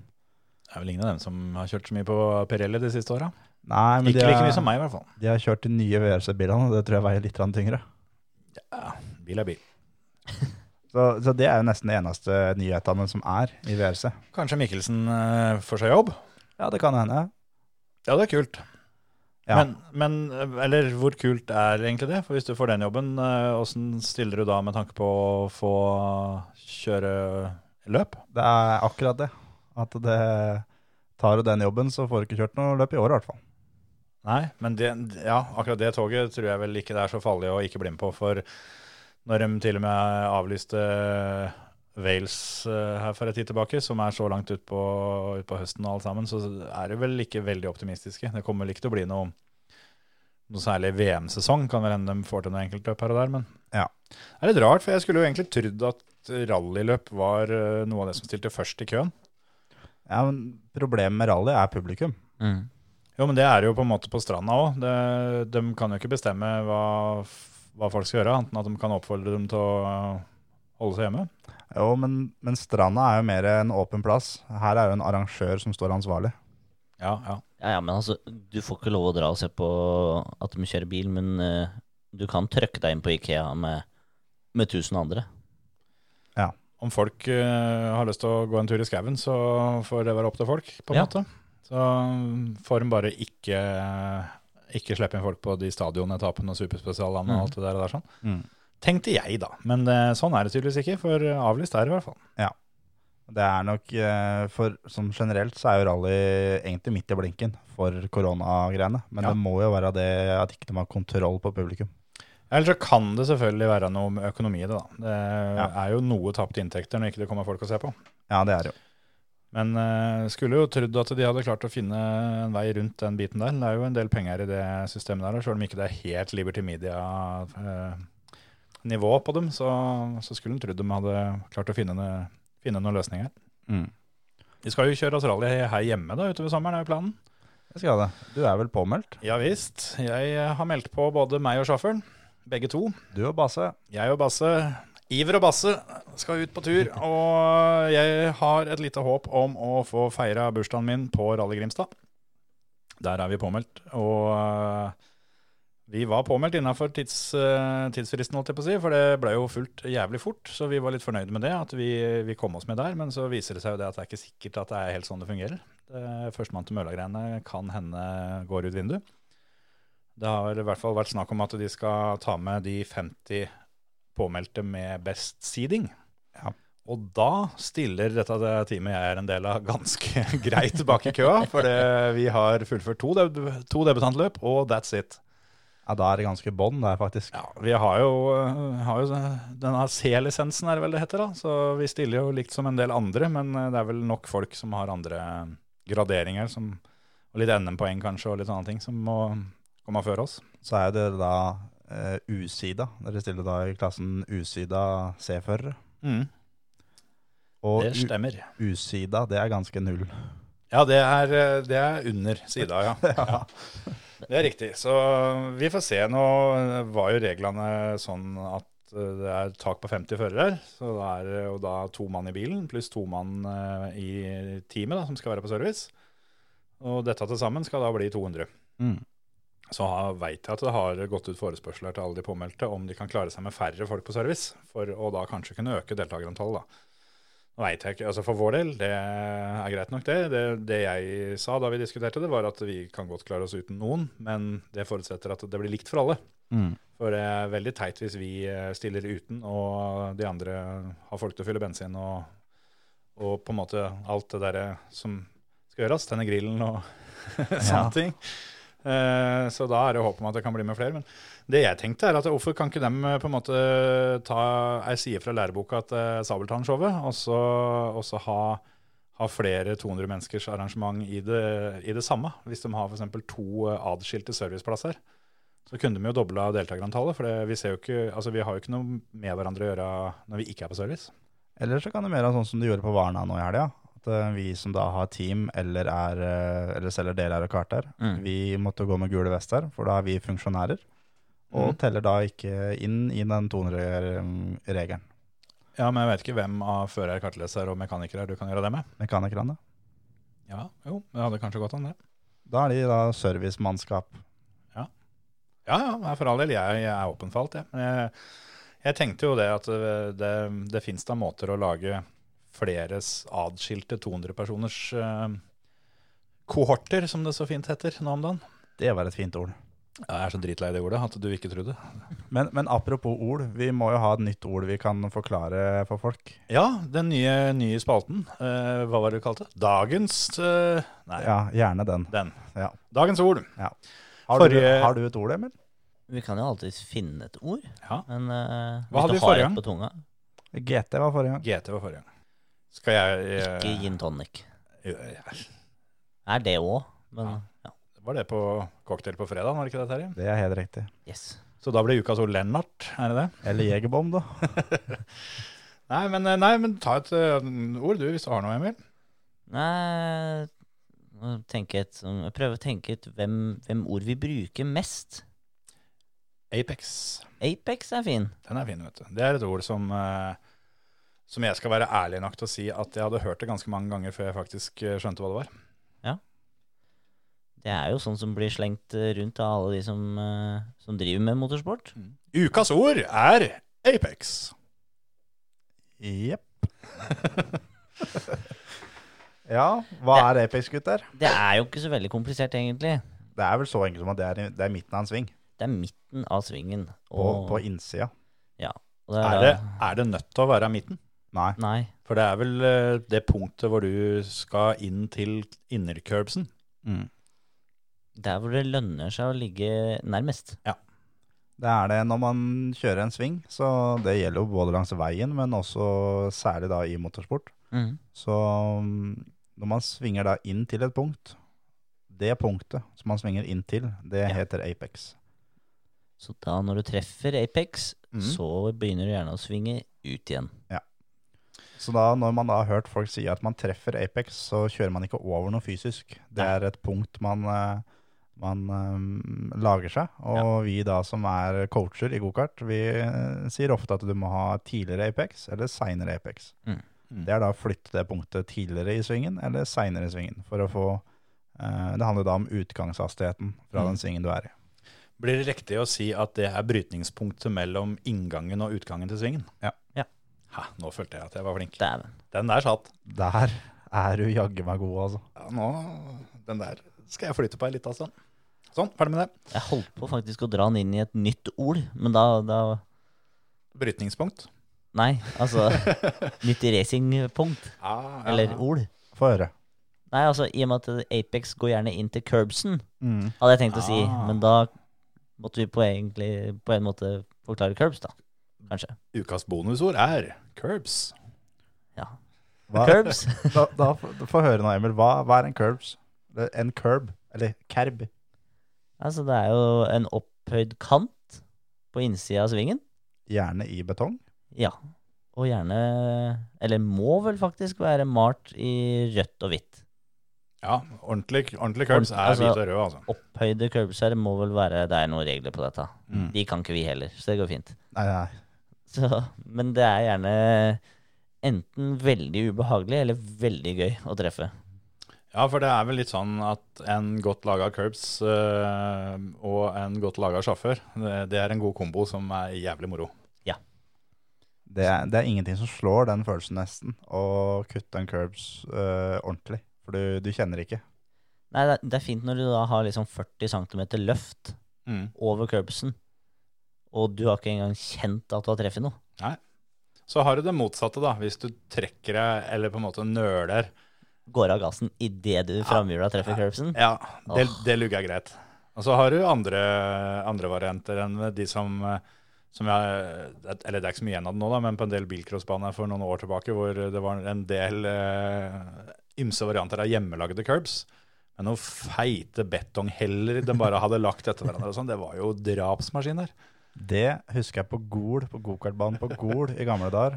Speaker 4: Det er vel ingen av dem som har kjørt så mye på Pirelli de siste åra.
Speaker 5: Nei, men
Speaker 4: Ikke
Speaker 5: de,
Speaker 4: like mye
Speaker 5: er,
Speaker 4: som meg, i hvert fall.
Speaker 5: de har kjørt de nye VRC-bilene, og det tror jeg veier litt grann tyngre.
Speaker 4: Ja, bil er bil.
Speaker 5: Så, så det er jo nesten de eneste nyhetene som er i VRC.
Speaker 4: Kanskje Mikkelsen eh, får seg jobb?
Speaker 5: Ja, det kan hende.
Speaker 4: Ja, det er kult.
Speaker 5: Ja.
Speaker 4: Men, men, eller hvor kult er egentlig det? For hvis du får den jobben, eh, hvordan stiller du da med tanke på å få kjøre løp?
Speaker 5: Det er akkurat det. At det tar du den jobben, så får du ikke kjørt noe løp i år, i hvert fall.
Speaker 4: Nei, men det, ja, akkurat det toget tror jeg vel ikke det er så farlig å ikke bli med på. For når de til og med avlyste Wales eh, her for en tid tilbake, som er så langt utpå ut på høsten og alt sammen, så er de vel ikke veldig optimistiske. Det kommer vel ikke til å bli noe, noe særlig VM-sesong. Kan vel hende de får til noe enkeltløp her og der, men
Speaker 5: Ja.
Speaker 4: det er litt rart. For jeg skulle jo egentlig trodd at rallyløp var eh, noe av det som stilte først i køen.
Speaker 5: Ja, men problemet med rally er publikum.
Speaker 6: Mm.
Speaker 4: Jo, men det er jo på en måte på stranda òg. De kan jo ikke bestemme hva, f- hva folk skal gjøre, annet enn at de kan oppfordre dem til å øh, holde seg hjemme.
Speaker 5: Jo, men, men stranda er jo mer en åpen plass. Her er jo en arrangør som står ansvarlig.
Speaker 4: Ja, ja.
Speaker 6: Ja, ja, men altså, du får ikke lov å dra og se på at de kjører bil, men eh, du kan trøkke deg inn på Ikea med, med tusen andre.
Speaker 4: Om folk øh, har lyst til å gå en tur i skauen, så får det være opp til folk, på en
Speaker 6: Ja.
Speaker 4: måte. Så øh, får de bare ikke, ikke slippe inn folk på de stadionetappene og superspesialene og alt det der. Og der sånn.
Speaker 5: Mm.
Speaker 4: Tenkte jeg, da. Men øh, sånn er det tydeligvis ikke, for avlyst er det i hvert fall.
Speaker 5: Det er nok eh, for Som generelt så er jo rally egentlig midt i blinken for koronagreiene. Men
Speaker 4: Ja.
Speaker 5: det må jo være det at ikke de har kontroll på publikum.
Speaker 4: Eller så kan det selvfølgelig være noe med økonomi i det, da. Det
Speaker 5: Ja.
Speaker 4: er jo noe tapte inntekter når ikke det kommer folk å se på.
Speaker 5: Ja, det er det jo.
Speaker 4: Men eh, skulle jo trodd at de hadde klart å finne en vei rundt den biten der. Det er jo en del penger i det systemet der, og selv om ikke det er helt Liberty Media-nivå på dem, så, så skulle en trodd de hadde klart å finne, noe- finne noen løsninger.
Speaker 5: Mm.
Speaker 4: De skal jo kjøre rally her hjemme da, utover sommeren, er jo planen.
Speaker 5: Jeg skal det. Du er vel påmeldt?
Speaker 4: Ja visst. Jeg eh, har meldt på både meg og sjåføren. Begge to.
Speaker 5: Du og Basse.
Speaker 4: Jeg og Basse, Iver og Basse, skal ut på tur. Og jeg har et lite håp om å få feira bursdagen min på Rally Grimstad. Der er vi påmeldt. Og eh, Vi var påmeldt innafor tids, eh, tidsfristen, holdt jeg på å si, for det ble jo fullt jævlig fort. Så vi var litt fornøyd med det, at vi, vi kom oss med der. Men så viser det seg jo det at det er ikke sikkert at det er helt sånn det fungerer. Det- Førstemann til mølla-greiene kan hende går ut vinduet. Det har i hvert fall vært snakk om at de skal ta med de 50 påmeldte med best seeding.
Speaker 5: Ja.
Speaker 4: Og da stiller dette teamet jeg er en del av, ganske greit bak i køa. For det, vi har fullført to, deb to debutantløp, og that's it.
Speaker 5: Ja, da er det ganske bånn der, faktisk.
Speaker 4: Ja, vi har jo, eh, har jo denne C-lisensen, er det vel det heter da, så vi stiller jo likt som en del andre, men eh, det er vel nok folk som har andre graderinger, som, og litt NM-poeng kanskje, og litt sånne ting, som må komme før oss.
Speaker 5: Så er det da eh, usida. Dere stiller da i klassen usida C-førere. Og
Speaker 4: Det stemmer.
Speaker 5: Mm. u- usida, det er ganske null.
Speaker 4: Ja, det er, eh, det er under sida, ja. ja. Det er riktig. Så eh, vi får se. Nå eh, var jo reglene sånn at eh, det er tak på 50 førere. Så det er eh, jo da to mann i bilen pluss to mann eh, i teamet da, som skal være på service. Og dette til sammen skal da bli 200.
Speaker 5: Mm.
Speaker 4: Så har- vet jeg at det har gått ut forespørsler til alle de påmeldte om de kan klare seg med færre folk på service, for å da kanskje kunne øke deltakerantallet. da. Nå vet jeg ikke, altså For vår del, det er greit nok, det. det. Det jeg sa da vi diskuterte det, var at vi kan godt klare oss uten noen, men det forutsetter at det blir likt for alle.
Speaker 5: Mm.
Speaker 4: For det er veldig teit hvis vi eh, stiller uten, og de andre har folk til å fylle bensin og, og på en måte alt det derre som skal gjøres, tenne grillen og sånne
Speaker 5: Ja.
Speaker 4: ting. Eh, Så da er det håp om at det kan bli med flere. Men det jeg tenkte, er at hvorfor kan ikke dem eh, på en måte ta ei side fra læreboka til Sabeltann-showet, og så, og så ha, ha flere 200 menneskers arrangement i det, i det samme? Hvis de har f.eks. to eh, adskilte serviceplasser så kunne de jo dobla deltakerantallet. For det, vi, ser jo ikke, altså vi har jo ikke noe med hverandre å gjøre når vi ikke er på service.
Speaker 5: Eller så kan det mer være sånn som de gjorde på Varna nå i helga. At eh, vi som da har team eller, er, eh, eller selger deler av kart der,
Speaker 6: Mm.
Speaker 5: vi måtte gå med gule vester, for da er vi funksjonærer. Og teller da ikke inn i den 200-regelen.
Speaker 4: Ja, men jeg vet ikke hvem av fører, kartleser og mekaniker du kan gjøre det med.
Speaker 5: Mekanikerne.
Speaker 4: Ja, jo, det hadde kanskje gått an, det.
Speaker 5: Da er de da servicemannskap.
Speaker 4: Ja, ja, nei, for all del. Jeg, jeg er åpen for alt, jeg. Men jeg, jeg tenkte jo det at det, det, det fins da måter å lage flere s- adskilte 200-personers eh, kohorter, som det så fint heter nå om dagen.
Speaker 5: Det var et fint ord.
Speaker 4: Ja, jeg er så dritlei det ordet at du ikke trodde.
Speaker 5: Men, men apropos ord, vi må jo ha et nytt ord vi kan forklare for folk.
Speaker 4: Ja, den nye, nye spalten. Eh, hva var det du kalte? Dagens eh, Nei,
Speaker 5: Ja, gjerne den.
Speaker 4: den.
Speaker 5: Ja.
Speaker 4: Dagens ord.
Speaker 5: Har,
Speaker 4: Forrige-
Speaker 5: du, har du et ord, Emil?
Speaker 6: Vi kan jo alltids finne et ord,
Speaker 4: Ja.
Speaker 6: men eh,
Speaker 4: Hva hadde
Speaker 6: hvis
Speaker 4: vi
Speaker 6: du har
Speaker 4: forrige
Speaker 6: et
Speaker 4: gang?
Speaker 6: på tunga
Speaker 5: GT var forrige gang.
Speaker 4: GT var forrige gang. Skal jeg eh,
Speaker 6: Ikke gin tonic.
Speaker 4: ja,
Speaker 6: Er det òg, men
Speaker 4: Ja.
Speaker 6: ja.
Speaker 4: Var det på cocktail på fredag, var det ikke det, Terje?
Speaker 5: Det er helt riktig.
Speaker 6: Yes.
Speaker 4: Så da ble ukas ord Lennart, er det det?
Speaker 5: Eller jegerbom, da.
Speaker 4: Nei, men, eh, nei, men ta et eh, ord du, hvis du har noe, Emil.
Speaker 6: Nei må tenke et, sånn- jeg prøver å tenke ut hvem, hvem ord vi bruker mest.
Speaker 4: Apex.
Speaker 6: Apex er fin.
Speaker 4: Den er fin, vet du. Det er et ord som, eh, som jeg skal være ærlig nok til å si at jeg hadde hørt det ganske mange ganger før jeg faktisk eh, skjønte hva det var.
Speaker 6: Det er jo sånn som blir slengt eh, rundt av alle de som, eh, som driver med motorsport.
Speaker 5: Mm.
Speaker 4: Ukas ord er Apex.
Speaker 5: Jepp. ja, hva er Apex, gutter?
Speaker 6: Det er jo ikke så veldig komplisert, egentlig.
Speaker 5: Det er vel så enkelt som at det er, i- det er midten av en sving.
Speaker 6: Det er midten av svingen.
Speaker 5: På, på innsida.
Speaker 6: ja, og det
Speaker 4: Er
Speaker 6: da-
Speaker 4: det, er det nødt til å være midten?
Speaker 5: Nei.
Speaker 6: Nei.
Speaker 4: For det er vel eh, det punktet hvor du skal inn til innercurbsen.
Speaker 6: Der hvor det lønner seg å ligge nærmest.
Speaker 5: Det er det når man kjører en sving, så det gjelder jo både langs veien, men også særlig da i motorsport. Så mm, når man svinger da inn til et punkt, det punktet som man svinger inn til, det
Speaker 6: Ja.
Speaker 5: heter Apex.
Speaker 6: Så da når du treffer Apex,
Speaker 5: Mhm.
Speaker 6: så begynner du gjerne å svinge ut igjen.
Speaker 5: Så da, når man da har hørt folk si at man treffer Apex, så kjører man ikke over noe fysisk. Det
Speaker 6: Nei.
Speaker 5: er et punkt man, eh, man eh, lager seg. Og vi da som er coacher i gokart, vi eh, sier ofte at du må ha tidligere Apex eller seinere Apex.
Speaker 6: Mm.
Speaker 4: Mm.
Speaker 5: Det er da å flytte det punktet tidligere i svingen eller
Speaker 6: Mm.
Speaker 5: seinere i svingen. For å få eh, Det handler da om utgangshastigheten fra den svingen du er i.
Speaker 4: Blir det riktig å si at det er brytningspunktet mellom inngangen og utgangen til svingen?
Speaker 5: Ja.
Speaker 6: Ja.
Speaker 4: Ha, nå følte jeg at jeg var flink.
Speaker 6: Dæven.
Speaker 4: Den der satt.
Speaker 5: Der er du jaggu meg god, altså.
Speaker 4: Ja, nå, den der skal jeg flytte på ei lita stund. Sånn, ferdig med det.
Speaker 6: Jeg holdt på faktisk å dra den inn i et nytt ord, men da, da
Speaker 4: Brytningspunkt.
Speaker 6: Nei, altså Nytt racingpunkt,
Speaker 4: Ah, ja.
Speaker 6: eller ord.
Speaker 5: Få høre.
Speaker 6: Nei, altså i og med at Apex går gjerne inn til curbsen, hadde jeg tenkt å si. Men da måtte vi på, egentlig, på en måte forklare curbs, da. Kanskje.
Speaker 4: Ukas bonusord er curbs.
Speaker 6: Ja.
Speaker 5: Hva,
Speaker 6: Curbs.
Speaker 5: da, da, få- få høre nå, Emil. Hva, hva er en curbs? Eller En curb? Eller kerb?
Speaker 6: Altså, det er jo en opphøyd kant på innsida av svingen.
Speaker 5: Gjerne i betong.
Speaker 6: Ja. Og gjerne Eller må vel faktisk være malt i rødt og hvitt.
Speaker 4: Ja, ordentlig, ordentlig curbs er
Speaker 6: Altså-
Speaker 4: hvit og rød, altså.
Speaker 6: Opphøyde curbser må vel være Det er noen regler på dette.
Speaker 5: Mm.
Speaker 6: De kan ikke vi heller, så det går fint.
Speaker 5: Nei, nei.
Speaker 6: Så, men det er gjerne enten veldig ubehagelig eller veldig gøy å treffe.
Speaker 4: Ja, for det er vel litt sånn at en godt laga curbs eh, og en godt laga sjåfør, det, det er en god kombo som er jævlig moro.
Speaker 5: Det er, det er ingenting som slår den følelsen, nesten. Å kutte en curbs eh, ordentlig. For du, du kjenner ikke.
Speaker 6: Nei, det, det er fint når du da har liksom 40 cm løft
Speaker 4: Mm.
Speaker 6: over curbsen, og du har ikke engang kjent at du har treffet noe.
Speaker 4: Så har du det motsatte, da. Hvis du trekker deg, eller på en måte nøler.
Speaker 6: Går av gassen idet du framhjula treffer curbsen.
Speaker 4: Ja, det,
Speaker 6: Åh.
Speaker 4: det lugger greit. Og så har du andre, andre varianter enn de som, eh, som jeg, Eller det er ikke så mye igjen av det nå, da, men på en del bilcrossbaner for noen år tilbake hvor det var en del eh, ymse varianter av hjemmelagde curbs. Men noen feite betongheller de bare hadde lagt etter hverandre og sånn, det var jo drapsmaskiner.
Speaker 5: Det husker jeg på Gol, på gokartbanen på Gol i gamle dager.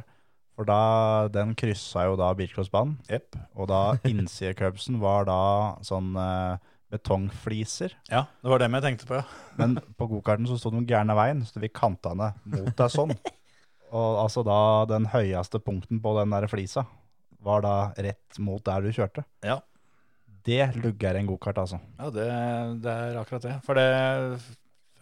Speaker 5: For da, den kryssa jo da bilcrossbanen.
Speaker 4: Jepp.
Speaker 5: Og da innsidecurbsen var da sånn eh, betongfliser.
Speaker 4: Ja, det var dem jeg tenkte på, ja.
Speaker 5: Men på gokarten så sto den gærne veien, så vi kanta henne mot deg sånn. Og altså da den høyeste punkten på den der flisa var da rett mot der du kjørte.
Speaker 4: Ja.
Speaker 5: Det lugger en gokart, altså.
Speaker 4: Ja, det, det er akkurat det. For det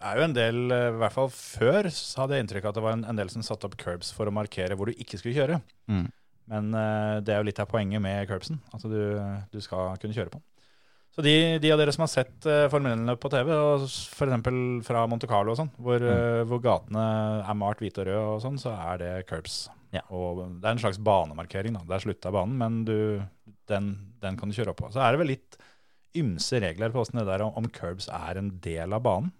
Speaker 4: er jo en del, eh, i hvert fall før, så hadde jeg inntrykk av at det var en, en del som satte opp curbs for å markere hvor du ikke skulle kjøre.
Speaker 5: Mm.
Speaker 4: Men eh, det er jo litt av poenget med curbsen, at du, du skal kunne kjøre på den. Så de, de av dere som har sett eh, Formel 1-løp på TV, og f.eks. fra Monte Carlo og sånn, hvor, eh, hvor gatene er malt hvite og røde og sånn, så er det curbs.
Speaker 6: Ja.
Speaker 4: Og det er en slags banemarkering, da. Det er slutta banen, men du, den, den kan du kjøre opp på. Så er det vel litt ymse regler på hvordan det der om- om curbs er en del av banen.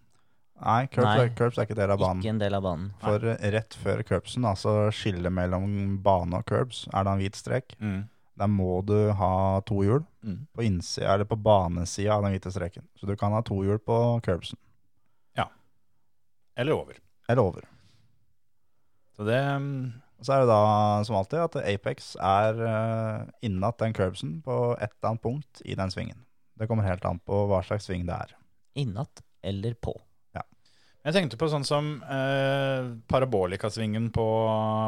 Speaker 5: Nei, curbs,
Speaker 6: Nei.
Speaker 5: Er, curbs er ikke del av banen.
Speaker 6: Ikke en del av banen.
Speaker 5: For eh, rett før curbsen, altså skillet mellom bane og curbs, er da en hvit strek. Der må du ha to hjul
Speaker 4: Mm.
Speaker 5: på innsida, eller på banesida av den hvite streken. Så du kan ha to hjul på curbsen.
Speaker 4: Eller over.
Speaker 5: Eller over.
Speaker 4: Så det mm,
Speaker 5: Og så er det da som alltid at Apex er uh, innat den curbsen på et eller annet punkt i den svingen. Det kommer helt an på hva slags sving det er.
Speaker 6: Innatt eller på.
Speaker 4: Jeg tenkte på sånn som eh, parabolikasvingen på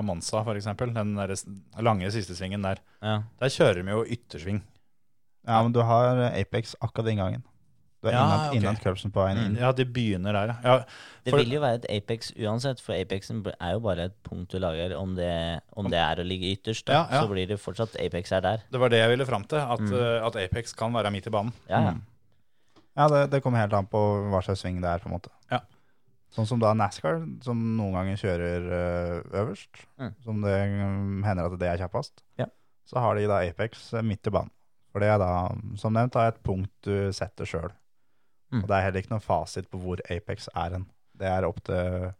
Speaker 4: Monza, f.eks. Den der s- lange siste svingen der.
Speaker 6: Ja.
Speaker 4: Der kjører vi jo yttersving.
Speaker 5: Ja, men du har Apex akkurat ved inngangen. Du er
Speaker 4: Ja,
Speaker 5: innat,
Speaker 4: ok. Mm.
Speaker 5: innat curbsen på veien inn.
Speaker 4: Ja, de begynner der, ja. ja.
Speaker 6: Det
Speaker 4: For-
Speaker 6: vil jo være et Apex uansett, for Apexen bl- er jo bare et punkt du lager. Om det, om det er å ligge ytterst, da,
Speaker 4: Ja, ja.
Speaker 6: så blir det fortsatt Apex er der.
Speaker 4: Det var det jeg ville fram til, at, eh, at Apex kan være midt i banen.
Speaker 6: Ja, ja.
Speaker 5: Ja, det, det kommer helt an på hva slags sving det er, på en måte.
Speaker 4: Ja.
Speaker 5: Sånn som da NASCAR, som noen ganger kjører eh, øverst,
Speaker 6: Mm.
Speaker 5: som det mm, hender at det er kjappest,
Speaker 6: Ja.
Speaker 5: så har de da Apex eh, midt i banen. For det er da, som nevnt, da et punkt du setter sjøl.
Speaker 6: Mm.
Speaker 5: Og det er heller ikke noen fasit på hvor Apex er hen. Det er opp til,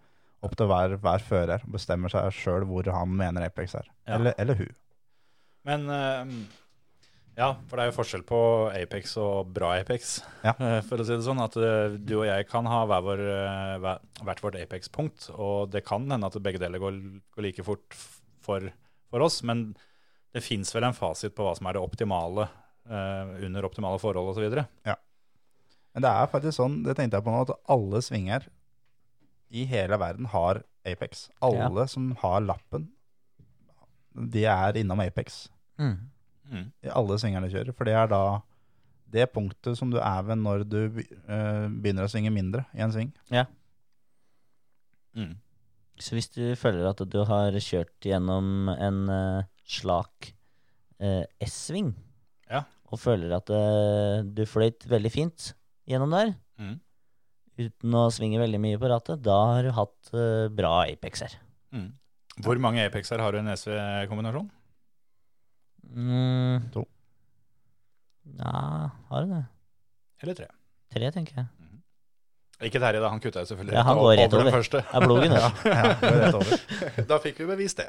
Speaker 5: opp til hver, hver fører, bestemmer seg sjøl hvor han mener Apex er.
Speaker 4: Ja.
Speaker 5: Eller, eller hun.
Speaker 4: Men eh, ja, for det er jo forskjell på Apex og bra Apex,
Speaker 5: Ja.
Speaker 4: eh, for å si det sånn. At eh, du og jeg kan ha hver vår, eh, hver- hvert vårt Apex-punkt, og det kan hende at begge deler går, går like fort f- for, for oss, men det fins vel en fasit på hva som er det optimale eh, under optimale forhold osv.
Speaker 5: Men det er faktisk sånn, det tenkte jeg på nå, at alle svinger i hele verden har Apex. Alle som har lappen, de er innom Apex.
Speaker 6: Mm.
Speaker 5: I alle svingerne de kjører, for det er da det punktet som du er ved når du be- eh, begynner å svinge mindre i en sving.
Speaker 4: Mm.
Speaker 6: Så hvis du føler at du har kjørt gjennom en eh, slak eh, S-sving,
Speaker 4: Ja.
Speaker 6: og føler at eh, du fløyt veldig fint gjennom der,
Speaker 4: Mhm.
Speaker 5: Mm.
Speaker 6: uten å svinge veldig mye på rattet, da har du hatt eh, bra Apex her.
Speaker 4: Hvor mange Apexer har du i en E SV-kombinasjon?
Speaker 6: Mm.
Speaker 5: To.
Speaker 6: Ja, har du det?
Speaker 4: Eller tre?
Speaker 6: Tre, tenker jeg.
Speaker 4: Ikke Terje, da. Han kutta jo selvfølgelig
Speaker 6: Ja, han går rett
Speaker 4: den
Speaker 6: over.
Speaker 4: første.
Speaker 6: Det er blogen, det.
Speaker 5: Ja, det er rett over.
Speaker 4: Da fikk vi bevist det.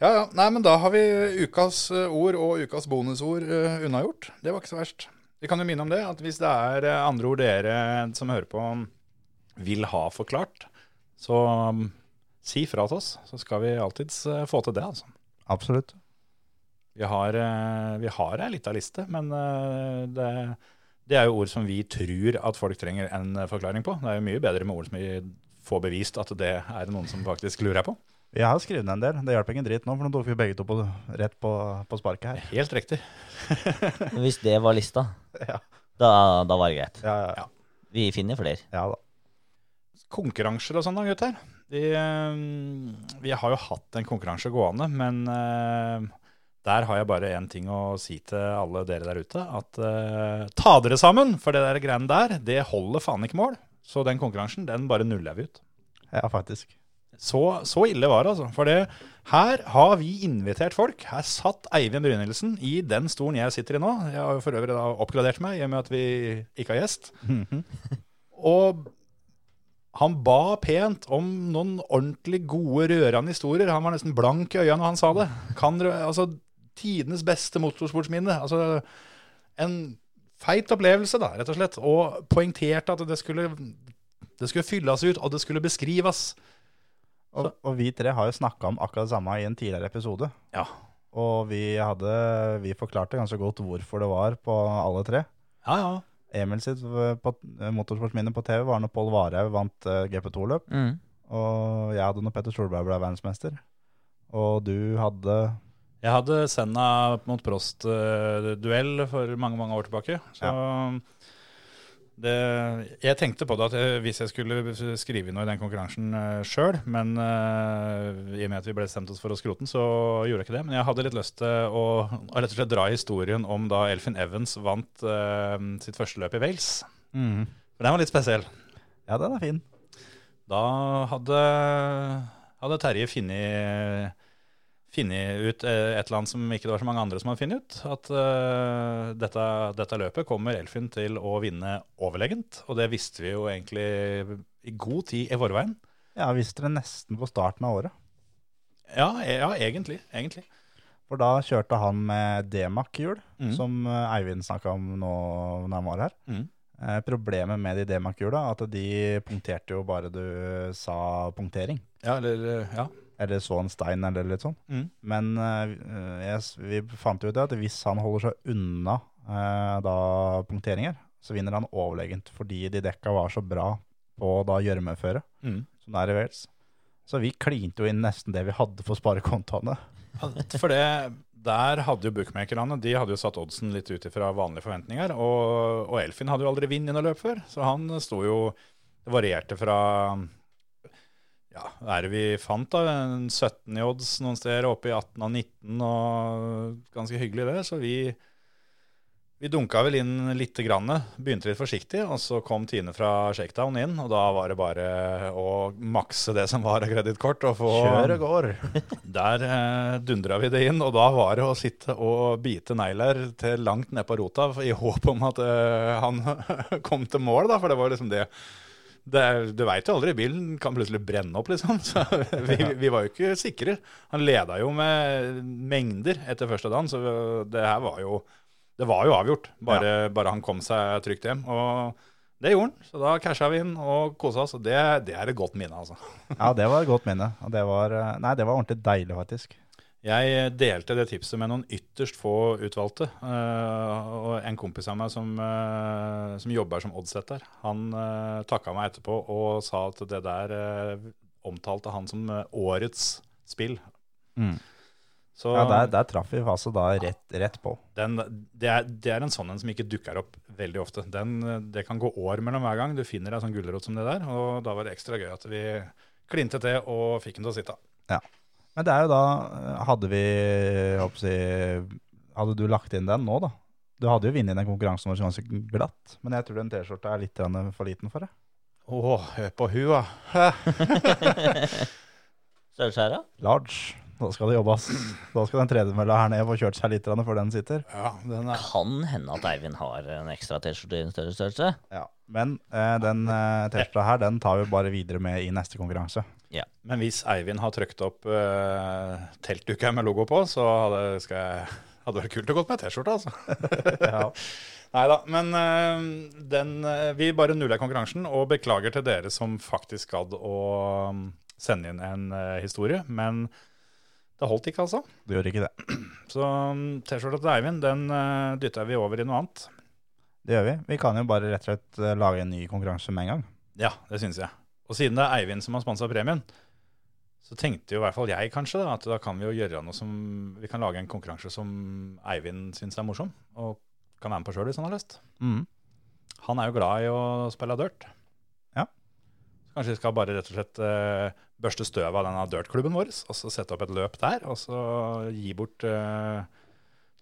Speaker 4: Ja, ja. Nei, men da har vi ukas eh, ord og ukas bonusord eh, unnagjort. Det var ikke så verst. Vi kan jo minne om det, at hvis det er eh, andre ord dere som hører på vil ha forklart, så mm, si fra til oss, så skal vi alltids eh, få til det, altså.
Speaker 5: Absolutt.
Speaker 4: Vi har, eh, vi har ei lita liste, men eh, det, det er jo ord som vi tror at folk trenger en eh, forklaring på. Det er jo mye bedre med ord som vi får bevist at det er noen som faktisk lurer på.
Speaker 5: Jeg har skrevet ned en del. Det hjalp ingen drit nå, for nå tok vi begge to på, rett på, på sparket her.
Speaker 4: Helt riktig.
Speaker 6: Hvis det var lista,
Speaker 5: Ja.
Speaker 6: da, da var det greit.
Speaker 5: Ja, ja, ja.
Speaker 6: Vi finner flere.
Speaker 5: ja da.
Speaker 4: konkurranser og sånn da, gutter. De, eh, vi har jo hatt en konkurranse gående, men eh, der har jeg bare én ting å si til alle dere der ute. At eh, ta dere sammen, for det der greiene der, det holder faen ikke mål. Så den konkurransen, den bare nuller vi ut.
Speaker 5: Ja, faktisk.
Speaker 4: Så, så ille var det, altså. For det, her har vi invitert folk. Her satt Eivind Brynildsen i den stolen jeg sitter i nå. Jeg har jo for øvrig da oppgradert meg i og med at vi ikke har gjest. Og han ba pent om noen ordentlig gode, rørende historier. Han var nesten blank i øynene når han sa det. Kan, dere- altså, tidenes beste motorsportsminne. Altså, en feit opplevelse, da, rett og slett. Og poengterte at det skulle, det skulle fylles ut, og det skulle beskrives.
Speaker 5: Og, og vi tre har jo snakka om akkurat det samme i en tidligere episode.
Speaker 4: Ja.
Speaker 5: Og vi, hadde, vi forklarte ganske godt hvorfor det var på alle tre.
Speaker 4: Ja, ja.
Speaker 5: Emil sitt eh, på, eh, motorsportsminne på TV var når Pål Varhaug vant eh, GP2-løp.
Speaker 4: Mm.
Speaker 5: Og jeg hadde når Petter Solberg ble verdensmester. Og du hadde
Speaker 4: Jeg hadde Senna mot Prost-duell for mange mange år tilbake. Så det, jeg tenkte på det at eh, hvis jeg skulle skrive inn noe i den konkurransen sjøl, men eh, i og med at vi ble stemt oss for å skrote den, så gjorde jeg ikke det. Men jeg hadde litt lyst til å, å rett og slett dra historien om da Elfin Evans vant eh, sitt første løp i Wales. For den var litt spesiell.
Speaker 5: Ja, den er fin.
Speaker 4: Da hadde, hadde Terje funnet funnet ut eh, et eller annet som ikke det var så mange andre som hadde funnet ut. At eh, dette, dette løpet kommer Elfin til å vinne overlegent. Og det visste vi jo egentlig i god tid i forveien.
Speaker 5: Ja, jeg visste det nesten på starten av året.
Speaker 4: Ja, e ja egentlig. egentlig.
Speaker 5: For da kjørte han med D-Mac-hjul,
Speaker 4: Mm.
Speaker 5: som eh, Eivind snakka om nå når han var her.
Speaker 4: Mm.
Speaker 5: Eh, problemet med de D-Mac-hjula er at de punkterte jo bare du sa punktering.
Speaker 4: Ja, eller eh, Ja.
Speaker 5: Eller så en stein, eller litt sånn.
Speaker 4: Mm.
Speaker 5: Men eh, jeg, s- vi fant jo ut det at hvis han holder seg unna eh, da punkteringer, så vinner han overlegent, fordi de dekka var så bra på da gjørmeføre,
Speaker 4: Mm.
Speaker 5: som det er i Wales. Så vi klinte jo inn nesten det vi hadde for sparekontoene.
Speaker 4: For det, der hadde jo bookmakerne de hadde jo satt oddsen litt ut ifra vanlige forventninger. Og, og Elfin hadde jo aldri vunnet noe løp før, så han sto jo Det varierte fra ja, hva er det vi fant, da? En 17 i odds noen steder, oppe i 18 og 19, og ganske hyggelig det. Så vi, vi dunka vel inn lite grann, begynte litt forsiktig, og så kom Tine fra Shakedown inn, og da var det bare å makse det som var av kredittkort, og få
Speaker 5: Kjøret går!
Speaker 4: der eh, dundra vi det inn, og da var det å sitte og bite negler til langt ned på rota i håp om at eh, han kom til mål, da, for det var liksom det. det er- du veit jo aldri, bilen kan plutselig brenne opp, liksom. Så vi, vi var jo ikke sikre. Han leda jo med mengder etter første dagen, så det her var jo det var jo avgjort, bare, bare han kom seg trygt hjem. Og det gjorde han, så da casha vi inn og kosa oss. og Det, det er et godt minne, altså.
Speaker 5: Ja, det var et godt minne. Og Det var, eh, nei, det var ordentlig deilig, faktisk.
Speaker 4: Jeg eh, delte det tipset med noen ytterst få utvalgte. eh, og en kompis av meg som, eh, som jobber som oddsetter, han uh, takka meg etterpå og sa at det der eh, omtalte han som eh, årets spill. Så
Speaker 5: Ja, der, der traff vi altså da rett, rett på.
Speaker 4: den, det, er, det er en sånn en som ikke dukker opp veldig ofte. Den, eh, det kan gå år mellom hver gang du finner ei sånn gulrot som det der. Og da var det ekstra gøy at vi klinte til og fikk den til å sitte.
Speaker 5: Men det er jo da Hadde vi jeg håper å si, Hadde du lagt inn den nå, da? Du hadde jo vunnet den konkurransen vår ganske glatt, men jeg tror den T-skjorta er litt grann for liten for det.
Speaker 4: Å, hør på hua.
Speaker 6: Sølvskjæra?
Speaker 5: Large. Da skal det jobbes. Da skal den tredemølla her ned få kjørt seg litt grann før den sitter.
Speaker 4: Ja, den er
Speaker 6: Kan hende at Eivind har en ekstra T-skjorte i en større størrelse.
Speaker 5: Ja. Men eh, den eh, T-skjorta her, den tar vi bare videre med i neste konkurranse.
Speaker 4: Men hvis Eivind har trøkt opp uh, teltduka med logo på, så hadde, skal jeg, hadde det vært kult å gå med T-skjorte, altså.
Speaker 5: Ja.
Speaker 4: Nei da. Men eh, den, eh, vi bare nuller konkurransen, og beklager til dere som faktisk gadd å mm, sende inn en eh, historie. Men det holdt ikke, altså.
Speaker 5: Du gjør ikke det.
Speaker 4: Så mm, T-skjorta til Eivind den uh, dytta vi over i noe annet.
Speaker 5: Det gjør vi. Vi kan jo bare rett og slett eh, lage en ny konkurranse med en gang.
Speaker 4: Ja, det syns jeg. Og siden det er Eivind som har sponsa premien, så tenkte jo i hvert fall jeg kanskje da, at da kan vi jo gjøre noe som Vi kan lage en konkurranse som Eivind syns er morsom, og kan være med på sjøl hvis han har lyst.
Speaker 5: Mm.
Speaker 4: Han er jo glad i å spille dirt.
Speaker 5: Ja.
Speaker 4: Så kanskje vi skal bare rett og slett eh, børste støv av denne dirtklubben vår, og så sette opp et løp der, og så gi bort eh,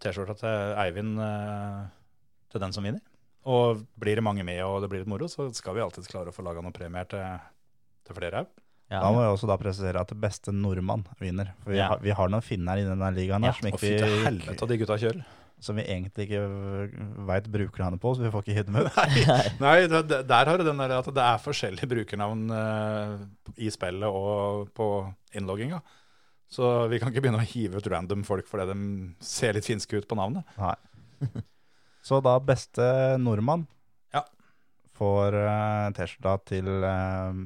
Speaker 4: T-skjorta til Eivind eh, til den som vinner. Og blir det mange med, og det blir litt moro, så skal vi alltid klare å få laga noen premier til, til flere òg.
Speaker 6: Ja.
Speaker 5: Da må vi også da presisere at beste nordmann vinner. For vi,
Speaker 6: Ja.
Speaker 5: har, vi har noen finner i denne ligaen
Speaker 6: Ja.
Speaker 5: her som,
Speaker 4: Og
Speaker 5: ikke
Speaker 4: fy til helvete, og de gutta kjører.
Speaker 5: som vi egentlig ikke veit brukernavnet på, så vi får ikke hit med.
Speaker 4: Nei, det, det- der har du den der at det er forskjellige brukernavn eh, i spillet og på innlogginga. Så vi kan ikke begynne å hive ut random folk fordi de ser litt finske ut på navnet.
Speaker 5: Nei. Så da beste nordmann
Speaker 4: Ja.
Speaker 5: får eh, T-skjorta til eh,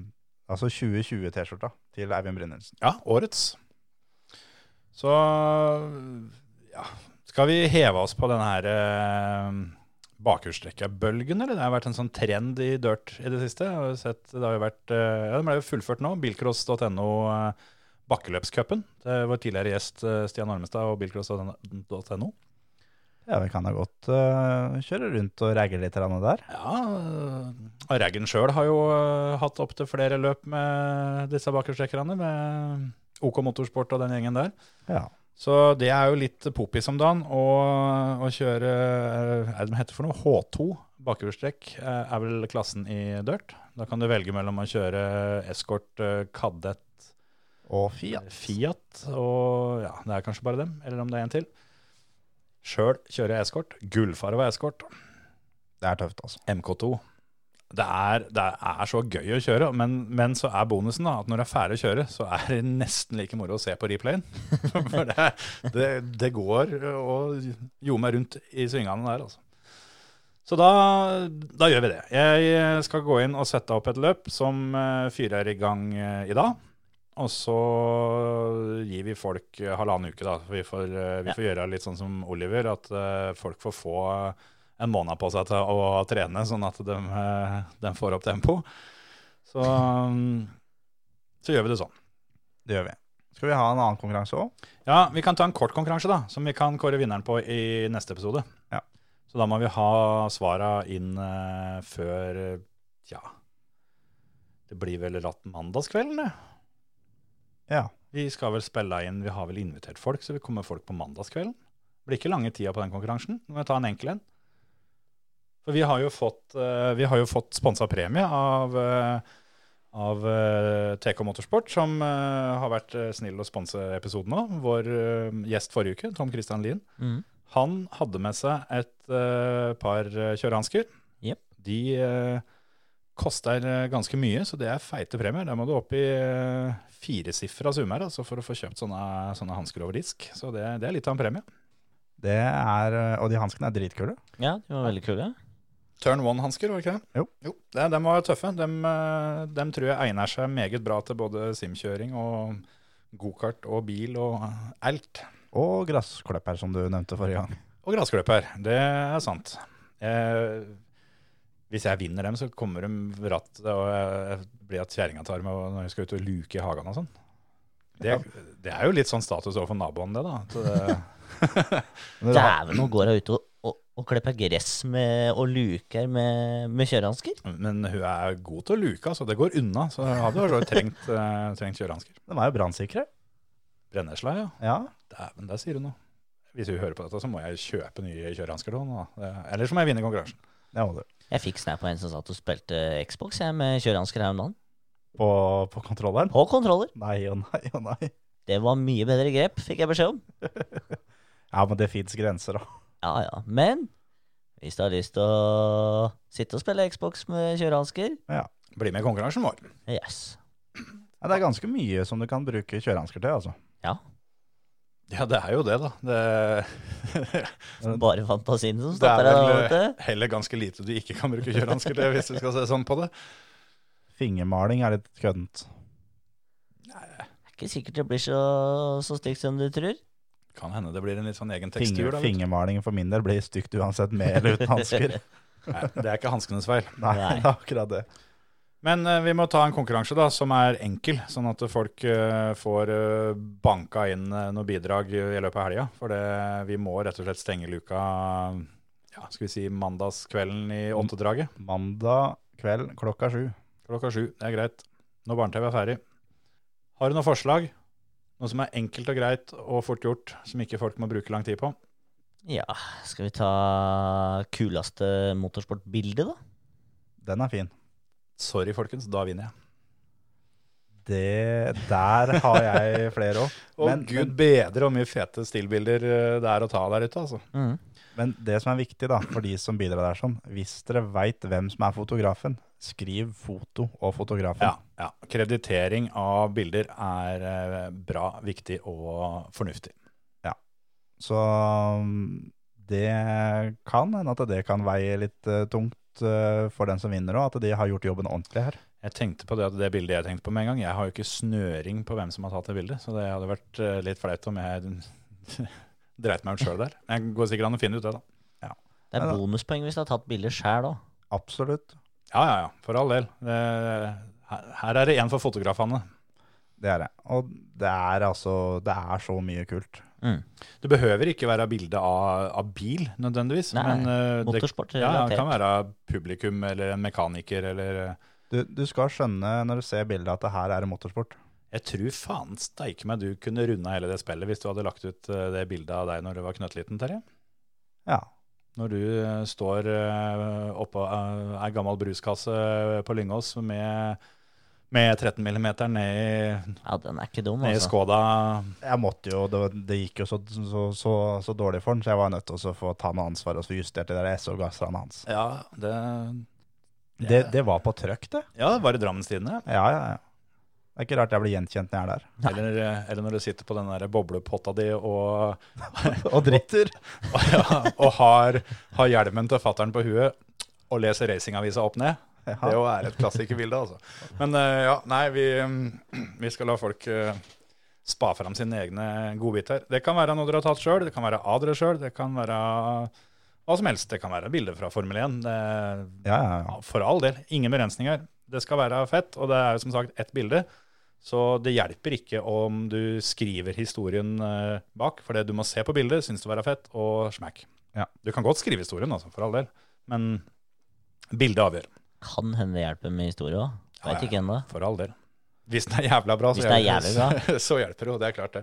Speaker 5: Altså 2020-T-skjorta til Eivind Brynildsen.
Speaker 4: Ja, årets. Så ja Skal vi heve oss på denne her eh, bakhjulstrekkerbølgen, eller? Det har vært en sånn trend i dirt i det siste. Jeg har jo sett, det har jo vært, eh, ja, den ble jo fullført nå. Bilcross.no eh, Bakkeløpscupen. Det var tidligere gjest eh, Stian Ormestad og bilcross.no.
Speaker 5: Ja, vi kan da godt eh, kjøre rundt og ragge litt grann der.
Speaker 4: Ja, øh, og Raggen sjøl har jo øh, hatt opptil flere løp med disse bakhjulstrekkerne, med OK Motorsport og den gjengen der.
Speaker 5: Ja.
Speaker 4: Så det er jo litt poppis om dagen. Og å kjøre øh, Hva er det de heter for noe? H2 bakhjulstrekk øh, er vel klassen i dirt. Da kan du velge mellom å kjøre Escort, øh, Kadett,
Speaker 5: Og Fiat.
Speaker 4: Fiat og ja, det er kanskje bare dem, eller om det er en til. Sjøl kjører jeg Escort. Gullfarva Escort.
Speaker 5: Det er tøft, altså.
Speaker 4: MK2. Det er, det er så gøy å kjøre, men, men så er bonusen da, at når det er ferdig å kjøre, så er det nesten like moro å se på replayen. For det, det, det går å ljome rundt i svingene der, altså. Så da, da gjør vi det. Jeg skal gå inn og sette opp et løp som eh, fyrer i gang eh, i dag. Og så gir vi folk eh, halvannen uke, da. Vi får, eh, vi
Speaker 6: Ja.
Speaker 4: får gjøre litt sånn som Oliver, at eh, folk får få en måned på seg til å trene, sånn at de, eh, de får opp tempo. Så, um, så gjør vi det sånn.
Speaker 5: Det gjør vi. Skal vi ha en annen konkurranse òg?
Speaker 4: Ja, Vi kan ta en kort konkurranse, da, som vi kan kåre vinneren på i neste episode.
Speaker 5: Ja.
Speaker 4: Så da må vi ha svara inn eh, før eh, Ja. Det blir vel ratt mandagskvelden, det.
Speaker 5: Ja.
Speaker 4: Vi skal vel spille inn Vi har vel invitert folk, så vi kommer folk på mandagskvelden. Det blir ikke lange tida på den konkurransen. Nå må jeg ta en enkel en. For vi har jo fått, eh, vi har jo fått sponsa premie av eh, av eh, TK Motorsport, som eh, har vært eh, snill å sponse episoden nå. Vår eh, gjest forrige uke, Tom Christian Lien,
Speaker 6: Mm.
Speaker 4: han hadde med seg et eh, par eh, kjørehansker.
Speaker 6: Jep.
Speaker 4: De eh, koster eh, ganske mye, så det er feite premier. Der må du opp i uh, firesifra summer altså, for å få kjøpt sånne, sånne hansker over disk. Så det, det er litt av en premie.
Speaker 5: Det er eh, Og de hanskene er dritkule.
Speaker 6: ja, de var veldig kule.
Speaker 4: Turn one-hansker, var det ikke det?
Speaker 5: Jo.
Speaker 4: det, de var tøffe. De, tror jeg egner seg meget bra til både simkjøring og gokart og bil og eh, alt.
Speaker 5: Og gressklipper, som du nevnte forrige gang.
Speaker 4: Og gresskløper, det er sant. Eh, hvis jeg vinner dem, så kommer de ratt, og jeg blir at kjerringa tar meg når jeg skal ut og luke i hagen og sånn. Det, det er jo litt sånn status overfor naboen, det, da. Så det,
Speaker 5: Men det har-
Speaker 6: Dæven, nå går hun ute og, og, og klipper gress med, og luker med, med kjørehansker.
Speaker 4: men hun er god til å luke, altså. Det går unna. Så jeg hadde jo trengt, eh, trengt kjørehansker.
Speaker 5: De er jo brannsikre.
Speaker 4: Brennesla, ja.
Speaker 5: Ja.
Speaker 4: Dæven, der sier hun noe. Hvis hun hører på dette, så må jeg kjøpe nye kjørehansker til henne. da. Det- Eller så må jeg vinne konkurransen.
Speaker 5: Det må du.
Speaker 6: Jeg fikk snap av en som satt og spilte Xbox jeg, med kjørehansker her om dagen.
Speaker 5: På, på kontrolleren?
Speaker 6: På kontroller.
Speaker 5: Nei og nei og nei.
Speaker 6: Det var mye bedre grep, fikk jeg beskjed om.
Speaker 5: Ja, men det fins grenser, da.
Speaker 6: Ja, ja. Men hvis du har lyst til å sitte og spille Xbox med kjørehansker,
Speaker 4: Bli med i konkurransen vår.
Speaker 6: yes.
Speaker 5: Ja, det er ganske mye som du kan bruke kjørehansker til, altså.
Speaker 4: Ja, det er jo det, da. Det,
Speaker 6: Bare fantasien som
Speaker 4: det er
Speaker 6: stopper deg der
Speaker 4: vel
Speaker 6: ute.
Speaker 4: eh, heller ganske lite du ikke kan bruke kjørehansker til, hvis du skal se sånn på det.
Speaker 5: Fingermaling er litt køddent.
Speaker 6: Det er ikke sikkert det blir så, så stygt som du tror.
Speaker 4: Kan hende det blir en litt sånn egen tekstur.
Speaker 5: Finger,
Speaker 4: da, vet du.
Speaker 5: fingermalingen for min del blir stygt uansett, med eller uten hansker.
Speaker 4: Nei, det er ikke hanskenes feil.
Speaker 5: Nei,
Speaker 6: Nei.
Speaker 5: det er akkurat det.
Speaker 4: Men eh, vi må ta en konkurranse da, som er enkel, sånn at folk eh, får eh, banka inn eh, noen bidrag i i løpet av helga. For det, vi må rett og slett stenge luka ja, skal vi si mandagskvelden i
Speaker 5: Mm.
Speaker 4: åttedraget.
Speaker 5: Mandag kveld klokka sju.
Speaker 4: Klokka sju. Det er greit. Når barne-TV er ferdig. Har du noen forslag? Noe som er enkelt og greit og fort gjort, som ikke folk må bruke lang tid på?
Speaker 6: Ja, skal vi ta kuleste motorsportbilde, da?
Speaker 5: Den er fin.
Speaker 4: Sorry, folkens, da vinner jeg.
Speaker 5: Det, der har jeg flere òg.
Speaker 4: Å
Speaker 5: Men-
Speaker 4: gud bedre hvor mye fete stillbilder eh, det er å ta der ute, altså.
Speaker 6: Mm.
Speaker 5: Men det som er viktig da, for de som bidrar der sånn, hvis dere veit hvem som er fotografen, skriv foto og fotografen.
Speaker 4: Ja, ja. Kreditering av bilder er eh, bra, viktig og fornuftig.
Speaker 5: Så um, det kan hende at det kan veie litt eh, tungt eh, for den som vinner òg, at de har gjort jobben ordentlig her.
Speaker 4: Jeg tenkte på det, det bildet jeg tenkte på med en gang. Jeg har jo ikke snøring på hvem som har tatt det bildet, så det hadde vært eh, litt flaut om jeg dreit meg ut sjøl der. Men Jeg går sikkert an å finne ut det, da.
Speaker 6: Det er
Speaker 5: Ja, da.
Speaker 6: bonuspoeng hvis du har tatt bilder sjæl òg.
Speaker 5: Absolutt.
Speaker 4: Ja, ja, ja. For all del. Eh, her- her er det en for fotografene.
Speaker 5: Det er det. Og det er altså Det er så mye kult.
Speaker 4: Det behøver ikke være bilde av, av bil nødvendigvis,
Speaker 6: Nei,
Speaker 4: men eh, det,
Speaker 6: Motorsport
Speaker 4: ja, det
Speaker 6: relatert.
Speaker 4: kan være publikum eller en mekaniker eller eh,
Speaker 5: Du, du skal skjønne når du ser bildet at det her er det motorsport.
Speaker 4: Jeg tror faen steike meg du kunne runda hele det spillet hvis du hadde lagt ut eh, det bildet av deg når du var knøttliten, Terje.
Speaker 5: Ja.
Speaker 4: Når du eh, står eh, oppå eh, ei gammel bruskasse på Lyngås med, med 13 mm ned i,
Speaker 6: Ja, den er ikke dum,
Speaker 4: ned i
Speaker 6: altså.
Speaker 4: Skoda
Speaker 5: Jeg måtte jo, det, var- det gikk jo så, så, så, så dårlig for den, så jeg var nødt til å få ta noe ansvar og få justert det der SO-gasserne hans.
Speaker 4: Ja, det,
Speaker 5: Det, det var på trøkk, det.
Speaker 4: ja, det var i Drammens Tidende.
Speaker 5: Ja, ja, ja. Det er ikke rart jeg blir gjenkjent når jeg er der.
Speaker 6: Nei.
Speaker 4: Eller, eh, eller når du sitter på den der boblepotta di og,
Speaker 5: Og dritter.
Speaker 4: og, og har, har hjelmen til fattern på huet og leser racingavisa opp ned. Det
Speaker 5: Ja.
Speaker 4: jo er et klassikerbilde, altså. Men eh, ja, nei, vi, mm, vi skal la folk eh, spa fram sine egne godbiter. Det kan være noe dere har tatt sjøl, det kan være av dere sjøl, det kan være hva som helst. Det kan være bilder fra Formel 1. Det,
Speaker 5: Ja, ja, ja.
Speaker 4: ja, for all del, ingen begrensninger. Det skal være fett, og det er jo som sagt ett bilde. Så det hjelper ikke om du skriver historien eh, bak, for det du må se på bildet, syns du er fett, og smack.
Speaker 5: Ja.
Speaker 4: Du kan godt skrive historien, altså, for all del, men bildet avgjør.
Speaker 6: Kan hende det hjelper med historie òg.
Speaker 4: Ja, ja,
Speaker 6: Veit ikke ennå.
Speaker 4: For all del. Hvis den er jævla bra, så,
Speaker 6: Hvis den er
Speaker 4: hjelper-
Speaker 6: jævlig
Speaker 4: så hjelper det jo. Det er klart, det.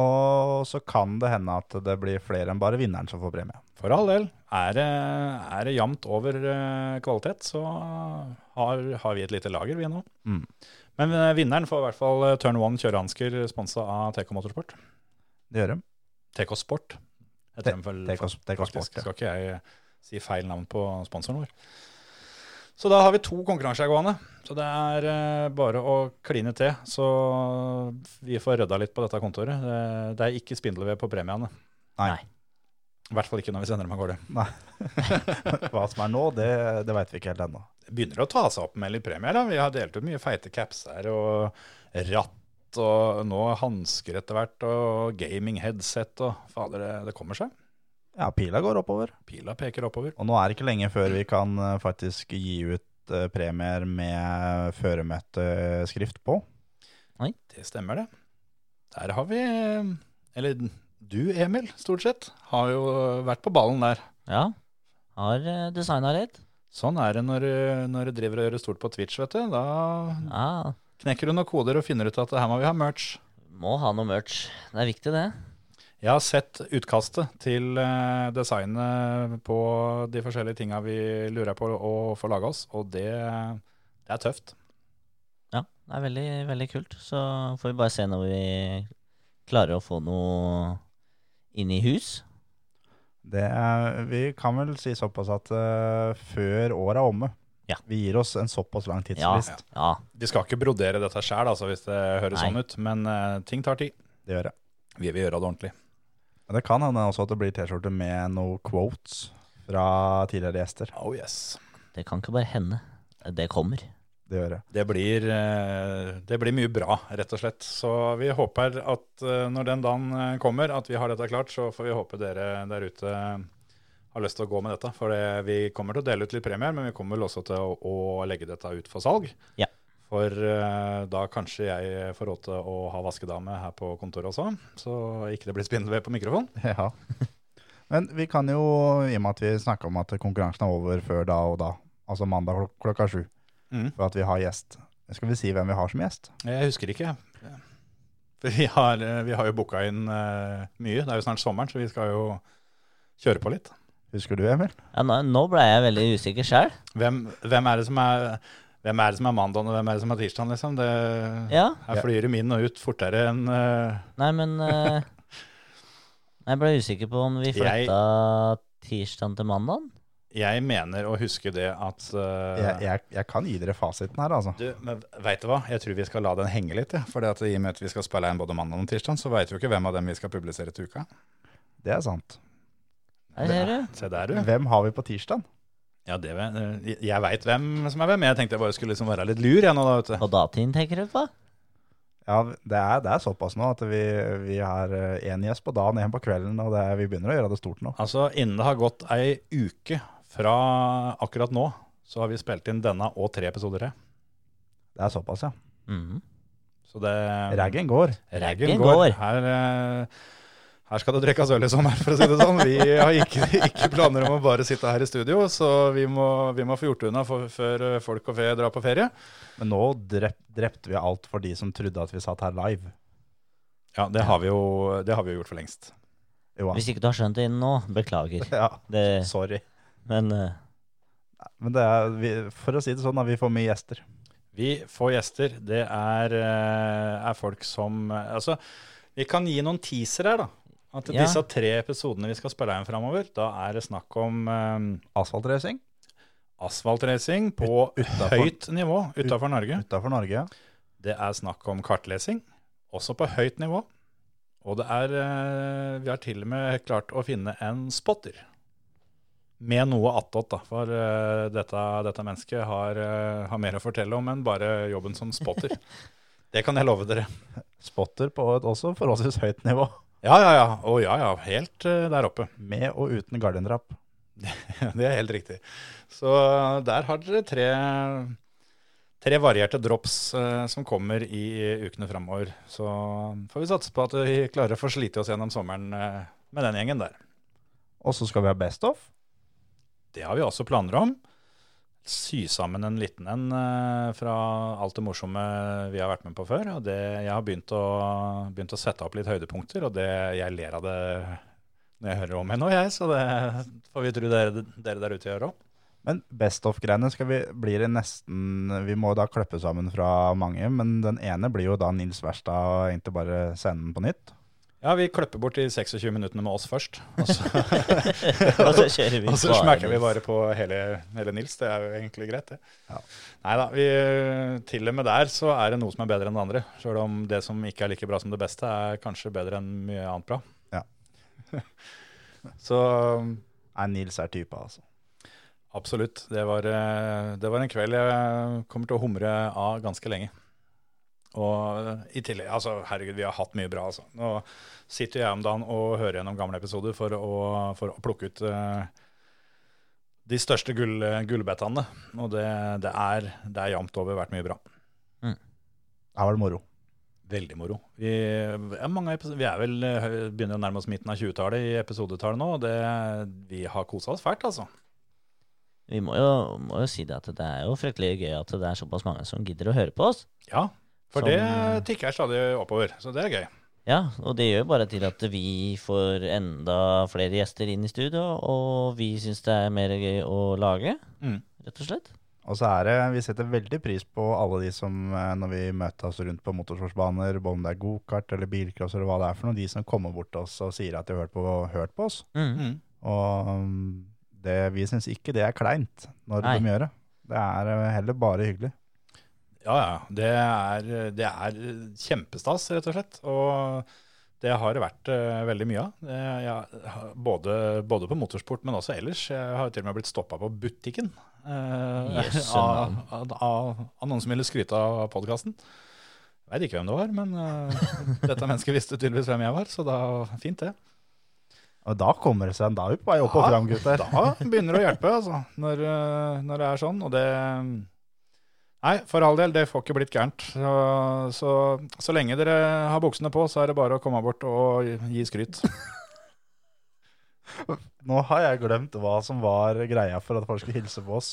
Speaker 5: Og så kan det hende at det blir flere enn bare vinneren som får premie.
Speaker 4: For all del. Er det, er det jevnt over eh, kvalitet, så har, har vi et lite lager, vi nå.
Speaker 5: Mm.
Speaker 4: Men eh, vinneren får i hvert fall eh, Turn One kjørehansker sponsa av TK Motorsport.
Speaker 5: Det gjør de.
Speaker 4: TK Sport. Jeg
Speaker 5: Te-
Speaker 4: tror de vel
Speaker 5: TK TK
Speaker 4: faktisk
Speaker 5: Sport. Ja.
Speaker 4: skal ikke jeg eh, si feil navn på sponsoren vår. Så da har vi to konkurranser gående. Så det er eh, bare å kline til. Så vi får rydda litt på dette kontoret. Det, det er ikke spindelvev på premiene.
Speaker 5: Nei.
Speaker 4: I hvert fall ikke når vi sender dem av gårde.
Speaker 5: Hva som er nå, det, det veit vi ikke helt ennå.
Speaker 4: Det begynner å ta seg opp med litt premier. da. Vi har delt ut mye feite caps her, og ratt, og nå hansker etter hvert, og gaming headset, og fader, det, det kommer seg.
Speaker 5: Ja, pila går oppover.
Speaker 4: Pila peker oppover.
Speaker 5: Og nå er det ikke lenge før vi kan eh, faktisk gi ut eh, premier med føremøteskrift på.
Speaker 4: Det stemmer, det. Der har vi Eller du, Emil, stort sett, har jo vært på ballen der.
Speaker 6: Ja. Har designa litt.
Speaker 4: Sånn er det når, du- når du driver og gjør det stort på Twitch, vet du. Da
Speaker 5: Mm.
Speaker 6: Ja,
Speaker 4: knekker du noen koder og finner ut at her må vi ha merch.
Speaker 6: må ha noe merch. Det er viktig, det.
Speaker 4: Jeg har sett utkastet til eh, designet på de forskjellige tinga vi lurer på å få laga oss, og det, det er tøft.
Speaker 6: Ja, det er veldig, veldig kult. Så får vi bare se når vi klarer å få noe inn i hus.
Speaker 5: Det er, vi kan vel si såpass at eh, før året er omme
Speaker 6: Ja.
Speaker 5: Vi gir oss en såpass lang
Speaker 6: Ja,
Speaker 5: tidsfrist.
Speaker 6: ja.
Speaker 4: De skal ikke brodere dette sjæl, altså, hvis det høres
Speaker 6: Nei.
Speaker 4: sånn ut, men eh, ting tar tid.
Speaker 5: Det gjør jeg.
Speaker 4: Vi vil gjøre det ordentlig.
Speaker 5: Men det kan hende også at det blir T-skjorte med noen quotes fra tidligere gjester.
Speaker 4: Oh yes.
Speaker 6: Det kan ikke bare hende. Det kommer.
Speaker 5: Det gjør jeg.
Speaker 4: Det blir, eh, det blir mye bra, rett og slett. Så vi håper at eh, når den dagen eh, kommer, at vi har dette klart, så får vi håpe dere der ute har lyst til å gå med dette. For det, vi kommer til å dele ut litt premier, men vi kommer vel også til å, å legge dette ut for salg.
Speaker 6: Ja.
Speaker 4: For eh, da kanskje jeg får råd til å ha vaskedame her på kontoret også, så ikke det blir spindelvev på mikrofonen.
Speaker 5: Ja. Men vi kan jo, i og med at vi snakka om at konkurransen er over før da og da, altså mandag klok klokka sju,
Speaker 4: Mm.
Speaker 5: for at vi har gjest Skal vi si hvem vi har som gjest?
Speaker 4: Jeg husker ikke. For vi har, vi har jo booka inn eh, mye. Det er jo snart sommeren, så vi skal jo kjøre på litt.
Speaker 5: Husker du, Emil?
Speaker 6: Ja, nå, nå ble jeg veldig usikker sjøl.
Speaker 4: Hvem, hvem er det som er hvem er det som er mandagen, og hvem er det som er tirsdagen, liksom? Det,
Speaker 6: Ja.
Speaker 4: Her flyr de inn og ut fortere enn eh,
Speaker 6: Nei, men eh, Jeg ble usikker på om vi
Speaker 4: Jeg-
Speaker 6: flytta tirsdag til mandag.
Speaker 4: Jeg mener å huske det at eh,
Speaker 5: Jeg, jeg, jeg kan gi dere fasiten her, altså.
Speaker 4: Du, men veit du hva? Jeg tror vi skal la den henge litt. Ja. For det at i og med at vi skal spille inn både mandag og tirsdag, så veit vi jo ikke hvem av dem vi skal publisere til uka.
Speaker 5: Det er sant.
Speaker 6: Der ser du.
Speaker 4: Se der, du.
Speaker 5: Hvem har vi på tirsdag?
Speaker 4: Ja, det, eh, jeg veit hvem som er hvem. Jeg tenkte jeg bare skulle liksom være litt lur, jeg nå, da, vet du.
Speaker 6: Og datiden tenker du på?
Speaker 5: Ja, det er, det er såpass nå at vi, vi har én gjest på dagen, én på kvelden, og det er, vi begynner å gjøre det stort nå.
Speaker 4: Altså, innen det har gått ei uke fra akkurat nå, så har vi spilt inn denne og tre episoder til.
Speaker 5: Det er såpass, ja.
Speaker 6: Mhm.
Speaker 4: Så det
Speaker 5: Raggen går.
Speaker 4: Raggen
Speaker 6: Raggen
Speaker 4: går.
Speaker 6: går.
Speaker 4: Her, eh, her skal det drikkes øl i sommer, for å si det sånn. Vi har ikke, ikke planer om å bare sitte her i studio, så vi må, vi må få gjort det unna for, før eh, folk og fe drar på ferie.
Speaker 5: Men nå drep, drepte vi alt for de som trodde at vi satt her live.
Speaker 4: Ja, det har vi jo, det har vi jo gjort for lengst.
Speaker 5: Jo,
Speaker 6: Hvis ikke du har skjønt det innen nå, beklager.
Speaker 5: ja.
Speaker 6: Det,
Speaker 5: Sorry.
Speaker 6: men eh,
Speaker 5: Men det er, vi, for å si det sånn, da, vi får mye gjester.
Speaker 4: Vi får gjester. Det er, eh, er folk som eh, Altså, vi kan gi noen teaser her, da. At
Speaker 6: Ja.
Speaker 4: disse tre episodene vi skal spille inn framover, da er det snakk om eh,
Speaker 5: Asfaltracing
Speaker 4: asfaltracing på
Speaker 5: utenfor-
Speaker 4: høyt nivå utafor Norge.
Speaker 5: utafor Norge.
Speaker 4: Det er snakk om kartlesing, også på høyt nivå. Og det er eh, Vi har til og med klart å finne en spotter. Med noe attåt, da. For eh, dette, dette mennesket har, eh, har mer å fortelle om enn bare jobben som spotter. Det kan jeg love dere.
Speaker 5: Spotter på et også forholdsvis høyt nivå.
Speaker 4: Ja, ja, ja. Å, ja, ja. Helt eh, der oppe.
Speaker 5: Med og uten gardindrapp.
Speaker 4: Det er helt riktig. Så eh, der har dere tre, tre varierte drops eh, som kommer i ukene framover. Så får vi satse på at vi klarer å få slite oss gjennom sommeren eh, med den gjengen der.
Speaker 5: Og så skal vi ha Best of.
Speaker 4: Det har vi også planer om. Sy sammen en liten en eh, fra alt det morsomme vi har vært med på før. Og det, jeg har begynt å, begynt å sette opp litt høydepunkter, og det, jeg ler av det når jeg hører om det nå, jeg. Så det får vi tro dere, dere der ute gjør òg.
Speaker 5: Men Best of-greiene skal vi, blir det nesten Vi må da kløppe sammen fra mange, men den ene blir jo da Nils Verstad og egentlig bare sende den på nytt.
Speaker 4: Ja, vi kløpper bort de 26 minuttene med oss først. Og så,
Speaker 6: Og så kjører Altså, vi
Speaker 4: og så
Speaker 6: bare
Speaker 4: smekker Altså, vi
Speaker 6: litt.
Speaker 4: bare på hele, hele Nils. Det er jo egentlig greit, det.
Speaker 5: Ja.
Speaker 4: Nei da. Til og med der så er det noe som er bedre enn det andre. Sjøl om det som ikke er like bra som det beste, er kanskje bedre enn mye annet bra.
Speaker 5: Ja.
Speaker 4: så
Speaker 5: Nei, Nils er typa, altså.
Speaker 4: absolutt. Det var, eh, det var en kveld jeg kommer til å humre av ganske lenge. Og i tillegg, altså herregud, vi har hatt mye bra, altså. Nå sitter jeg om dagen og hører gjennom gamle episoder for å, for å plukke ut eh, de største gull, gullbettene. Og det, det er, det er jamt over vært mye bra.
Speaker 5: Her var det moro.
Speaker 4: Veldig moro. Vi, ja, mange episo- vi er vel, eh, begynner å nærme oss midten av 20-tallet i episodetallet nå. og Det, vi har kosa oss fælt, altså.
Speaker 6: Vi må jo, må jo si det at det er jo fryktelig gøy at det er såpass mange som gidder å høre på oss.
Speaker 4: Ja, for
Speaker 6: Som-
Speaker 4: det tikker stadig oppover, så det er gøy.
Speaker 6: Ja, og det gjør jo bare til at vi får enda flere gjester inn i studio, og vi syns det er mer gøy å lage,
Speaker 4: Mm.
Speaker 6: rett og slett.
Speaker 5: Og så er det, vi setter veldig pris på alle de som, eh, når vi møter oss rundt på motorsportsbaner, både om det er gokart eller bilcross eller hva det er for noe, de som kommer bort til oss og sier at de har hørt på, hørt på oss.
Speaker 4: Mm.
Speaker 5: Og um, det, vi syns ikke det er kleint når
Speaker 6: Nei.
Speaker 5: de gjør det. Det er eh, heller bare hyggelig.
Speaker 4: Ja, ja. Det er, det er kjempestas, rett og slett. Og det har det vært eh, veldig mye av. Eh, jeg har- både, både på motorsport, men også ellers. Jeg har jo til og med blitt stoppa på butikken eh,
Speaker 6: Jøsse
Speaker 4: av,
Speaker 6: navn.
Speaker 4: av, av, av noen som ville skryte av podkasten. Veit ikke hvem det var, men eh, dette mennesket visste tydeligvis hvem jeg var, så da fint, det.
Speaker 5: Og da kommer det seg en dag på vei opp og
Speaker 4: Ja,
Speaker 5: fram, gutter.
Speaker 4: Da begynner det å hjelpe, altså, når, eh, når det er sånn. Og det Nei, for all del, det får ikke blitt gærent. Så, så, så lenge dere har buksene på, så er det bare å komme bort og gi skryt.
Speaker 5: Nå har jeg glemt hva som var greia for at folk skulle hilse på oss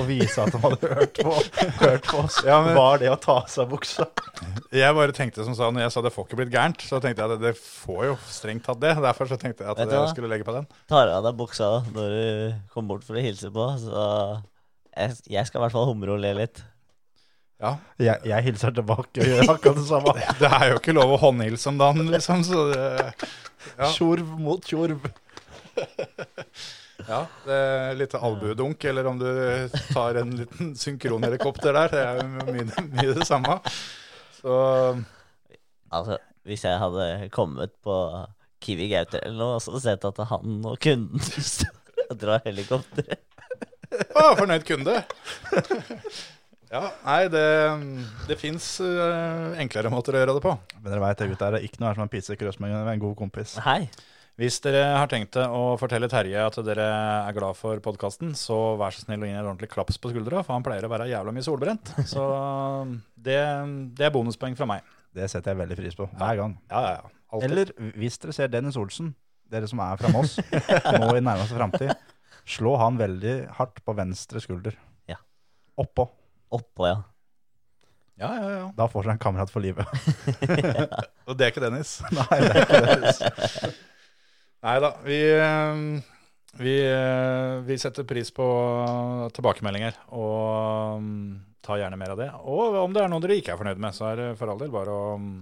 Speaker 5: og vise at de hadde hørt på, hørt på oss.
Speaker 4: Ja, men-
Speaker 5: Var det å ta av seg buksa?
Speaker 4: Jeg bare tenkte som sa, når jeg sa det får ikke blitt gærent, så tenkte jeg at det får jo strengt tatt det. Derfor så tenkte jeg at
Speaker 6: Vet du
Speaker 4: jeg
Speaker 6: hva?
Speaker 4: skulle legge på den.
Speaker 6: Tar av deg buksa når du kommer bort for å hilse på, så jeg, jeg skal i hvert fall humre og le litt.
Speaker 4: Ja,
Speaker 5: Jeg, jeg hilser tilbake og gjør akkurat det samme.
Speaker 4: Det er jo ikke lov å håndhilse om dagen, liksom. Så det, Ja.
Speaker 5: Tjorv mot tjorv.
Speaker 4: ja, det er litt albuedunk, eller om du tar en liten synkronhelikopter der. Det er jo mye, mye det samme. Så
Speaker 6: Altså, hvis jeg hadde kommet på Kiwi Gaute eller noe, og så sett at han og kunden står og drar helikopter
Speaker 4: Å, fornøyd kunde. Ja, nei, det, det fins enklere måter å gjøre det på.
Speaker 5: Men dere vet det, gutter. Det er ikke noe her som en pizzakrøss, men en god kompis.
Speaker 6: Hei.
Speaker 4: Hvis dere har tenkt å fortelle Terje at dere er glad for podkasten, så vær så snill å gi ham et ordentlig klaps på skuldra, for han pleier å være jævla mye solbrent. Så det, det er bonuspoeng fra meg.
Speaker 5: Det setter jeg veldig pris på hver gang.
Speaker 4: Ja, ja, ja. Alltid.
Speaker 5: Eller hvis dere ser Dennis Olsen, dere som er fra Moss, nå i nærmeste framtid, slå han veldig hardt på venstre skulder.
Speaker 6: Ja.
Speaker 5: Oppå.
Speaker 6: Oppå, ja.
Speaker 4: Ja, ja, ja.
Speaker 5: Da får dere en kamerat for livet.
Speaker 4: Og det er ikke Dennis.
Speaker 5: Nei, det er ikke det.
Speaker 4: Nei da. Vi, eh, vi, eh, vi setter pris på tilbakemeldinger. Og mm, ta gjerne mer av det. Og om det er noe dere ikke er fornøyd med, så er det for all del bare å mm,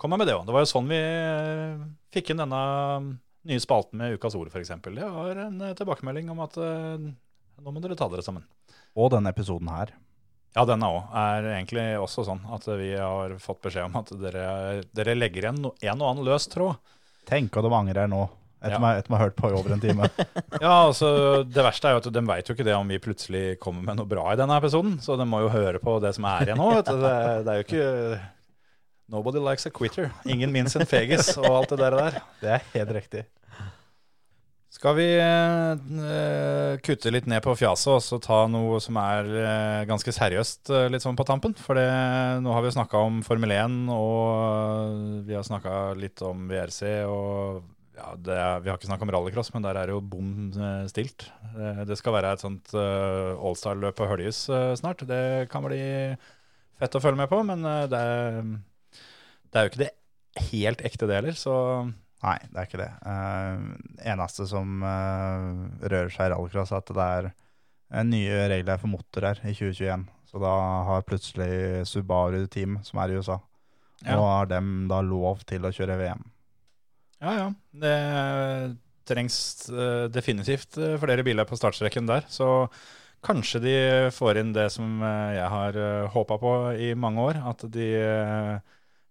Speaker 4: komme med det òg. Det var jo sånn vi eh, fikk inn denne mm, nye spalten med Ukas ord, f.eks. Det var en eh, tilbakemelding om at eh, nå må dere ta dere sammen.
Speaker 5: Og denne episoden her.
Speaker 4: Ja, denne òg er egentlig også sånn at vi har fått beskjed om at dere, dere legger igjen no- en og annen løs tråd.
Speaker 5: Tenk at de angrer nå, etter
Speaker 4: Ja.
Speaker 5: meg- etter å ha hørt på i over en time.
Speaker 4: Ja, altså, Det verste er jo at de veit jo ikke det om vi plutselig kommer med noe bra i denne episoden. Så de må jo høre på det som er igjen nå. vet du. Det, det er jo ikke Nobody likes a quitter. Ingen minst en fegis og alt det der. der.
Speaker 5: Det er helt riktig.
Speaker 4: Skal vi eh, kutte litt ned på fjaset og så ta noe som er eh, ganske seriøst eh, litt sånn på tampen? For det, nå har vi snakka om Formel 1, og vi har snakka litt om VRC. og ja, det er, Vi har ikke snakka om rallycross, men der er det jo bom eh, stilt. Eh, Det skal være et sånt eh, allstar-løp på Høljes eh, snart. Det kan bli fett å følge med på, men eh, det, er, det er jo ikke det helt ekte det heller, så
Speaker 5: Nei, det er ikke det. Eh, eneste som eh, rører seg i rallycross, er at det er eh, nye regler for motor her i 2021. Så da har plutselig Subaru Team, som er i USA,
Speaker 4: Ja.
Speaker 5: nå har dem da lov til å kjøre VM.
Speaker 4: Ja, ja. Det trengs eh, definitivt eh, flere biler på startstreken der. Så kanskje de får inn det som eh, jeg har håpa på i mange år. At de eh,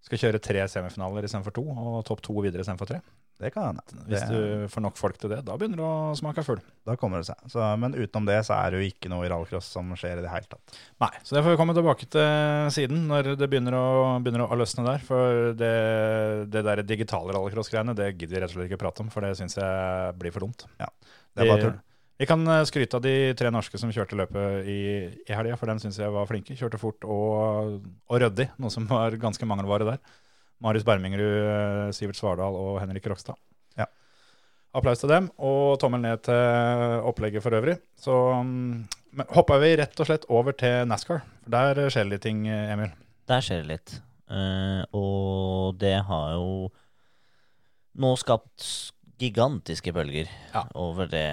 Speaker 4: skal kjøre tre semifinaler istedenfor to, og topp to videre istedenfor tre.
Speaker 5: Det kan hende.
Speaker 4: Hvis
Speaker 5: Det-
Speaker 4: du får nok folk til det, da begynner det å smake fugl.
Speaker 5: Da kommer det seg. Så, men utenom det så er det jo ikke noe i rallycross som skjer i det hele tatt.
Speaker 4: Nei, så det får vi komme tilbake til siden når det begynner å, begynner å løsne der. For det, det der digitale rallycross-greiene det gidder vi rett og slett ikke prate om, for det syns jeg blir for dumt.
Speaker 5: Det er bare tull.
Speaker 4: Vi kan eh, skryte av de tre norske som kjørte løpet i, i helga, for dem syns jeg var flinke. Kjørte fort og, og ryddig, noe som var ganske mangelvare der. Marius Bermingrud, eh, Sivert Svardal og Henrik Rokstad.
Speaker 5: Ja.
Speaker 4: Applaus til dem, og tommel ned til opplegget for øvrig. Så mm, men hopper vi rett og slett over til NASCAR. For Der skjer det litt ting, eh, Emil.
Speaker 6: Der skjer det litt. Eh, og det har jo nå skapt s- gigantiske bølger
Speaker 4: Ja.
Speaker 6: over det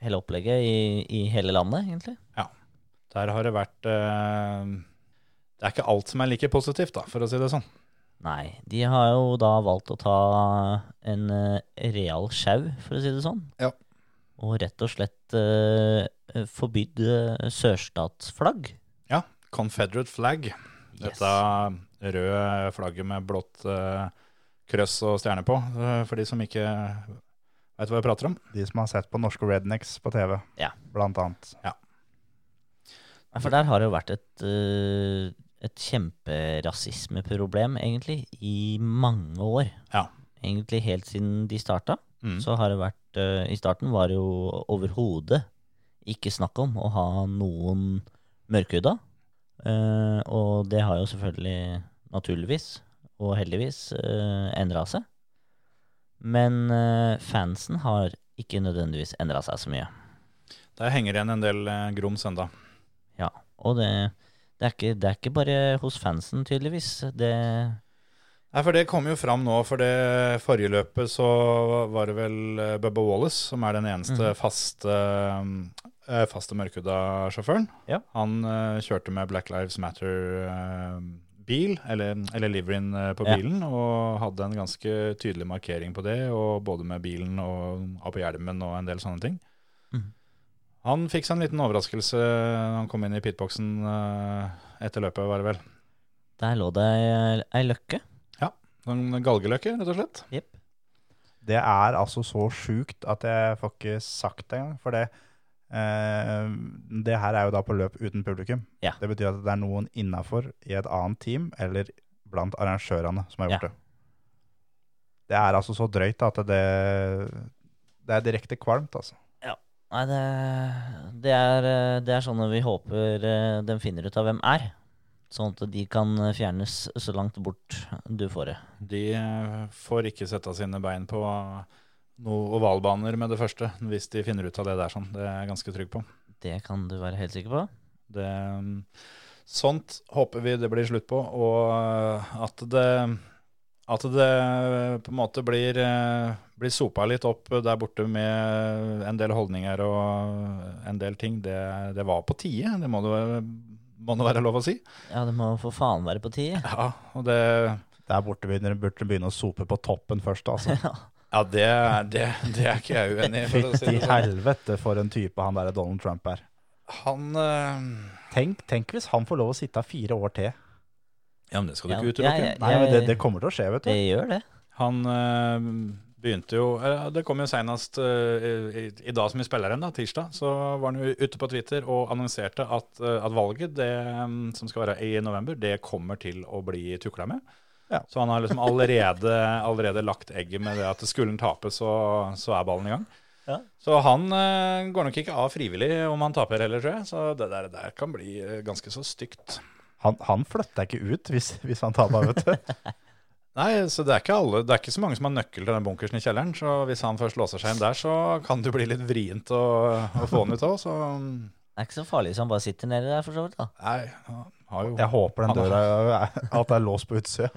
Speaker 6: hele opplegget i, i hele landet, egentlig.
Speaker 4: Der har det vært eh, Det er ikke alt som er like positivt, da, for å si det sånn.
Speaker 6: Nei, de har jo da valgt å ta en eh, real sjau, for å si det sånn.
Speaker 4: Ja.
Speaker 6: Og rett og slett eh, forbydd eh, sørstatsflagg.
Speaker 4: Confederate flag.
Speaker 6: Yes.
Speaker 4: Dette røde flagget med blått eh, krøss og stjerne på, eh, for de som ikke veit hva jeg prater om.
Speaker 5: De som har sett på norske rednecks på TV,
Speaker 6: Ja.
Speaker 5: blant annet.
Speaker 6: Nei, For der har det jo vært et, eh, et kjemperasismeproblem, egentlig, i mange år.
Speaker 4: Ja.
Speaker 6: Egentlig helt siden de starta.
Speaker 4: Mm.
Speaker 6: Så har det vært eh, I starten var det jo overhodet ikke snakk om å ha noen mørkhuda. Eh, og det har jo selvfølgelig, naturligvis og heldigvis, uh, endra seg. Men eh, fansen har ikke nødvendigvis endra seg så mye.
Speaker 4: Der henger igjen en del eh, grums enda.
Speaker 6: Ja, og det, det, er ikke, det er ikke bare hos fansen, tydeligvis. Det
Speaker 4: Nei, for det kom jo fram nå, for det forrige løpet så var det vel eh, Bubba Wallace, som er den
Speaker 6: Mhm.
Speaker 4: eneste faste, eh, faste mørkhuda sjåføren.
Speaker 6: Ja.
Speaker 4: Han eh, kjørte med Black Lives Matter-bil, eller, eller liveryen eh, på
Speaker 6: Ja.
Speaker 4: bilen, og hadde en ganske tydelig markering på det, og både med bilen og av på hjelmen og en del sånne ting.
Speaker 6: Mhm.
Speaker 4: Han fikk seg en liten overraskelse eh, når han kom inn i pitboxen eh, etter løpet, var det vel.
Speaker 6: Der lå det ei- ei løkke.
Speaker 4: Sånn galgeløkke, rett og slett.
Speaker 6: Jepp.
Speaker 5: Det er altså så sjukt at jeg får ikke sagt det engang. For det, eh, det her er jo da på løp uten publikum.
Speaker 6: Ja.
Speaker 5: Det betyr at det er noen innafor i et annet team eller blant arrangørene som har
Speaker 6: Ja.
Speaker 5: gjort det. Det er altså så drøyt at det, det er direkte kvalmt, altså.
Speaker 6: Nei, det, det, er, eh, det er sånn at vi håper eh, den finner ut av hvem er. Sånn at de kan eh, fjernes så langt bort du får det.
Speaker 4: De eh, får ikke sette sine bein på noen ovalbaner med det første, hvis de finner ut av det der sånn. Det er jeg ganske trygg på.
Speaker 6: Det kan du være helt sikker på.
Speaker 4: Det, mm, sånt håper vi det blir slutt på, og eh, at det, at det på en måte blir, eh, blir sopa litt opp der borte med en del holdninger og en del ting. Det, det var på tide, det må det være- må det være lov å si.
Speaker 6: Ja, det må for faen være på tide.
Speaker 4: Ja, og det...
Speaker 5: Der borte begynner burde begynne å sope på toppen først, altså.
Speaker 4: Ja, det, er- det, det er ikke jeg uenig i. for å si
Speaker 5: Fytti
Speaker 4: det sånn.
Speaker 5: helvete for en type han der Donald Trump er.
Speaker 4: Han eh,
Speaker 5: Tenk, tenk hvis han får lov å sitte her fire år til.
Speaker 4: Ja, men det skal du
Speaker 6: Ja,
Speaker 4: ikke
Speaker 6: ja,
Speaker 4: utelukke.
Speaker 6: ja.
Speaker 5: Nei, men det, det kommer til å skje, vet
Speaker 6: Det
Speaker 5: du.
Speaker 6: gjør det.
Speaker 4: Han eh, begynte jo eh, Det kom jo senest eh, i, i dag som vi spiller igjen, da, tirsdag. Så var han jo ute på Twitter og annonserte at, eh, at valget, det, eh, som skal være i november, det kommer til å bli tukla med.
Speaker 5: Ja.
Speaker 4: Så han har liksom allerede, allerede lagt egget med det at skulle han tape, så, så er ballen i gang.
Speaker 6: Ja.
Speaker 4: Så han eh, går nok ikke av frivillig om han taper heller, tror jeg. Så det der, der kan bli eh, ganske så stygt.
Speaker 5: Han, han flytter ikke ut hvis, hvis han tar meg, vet du.
Speaker 4: Nei, så det er ikke alle, det er ikke så mange som har nøkkel til den bunkersen i kjelleren, så hvis han først låser seg inn der, så kan det bli litt vrient å, å få han ut òg, så Nei,
Speaker 6: Det er ikke så farlig hvis han bare sitter nedi der, for så vidt. da.
Speaker 4: han har jo
Speaker 5: Jeg håper den
Speaker 4: Han
Speaker 5: døra er- at det er låst på utsida.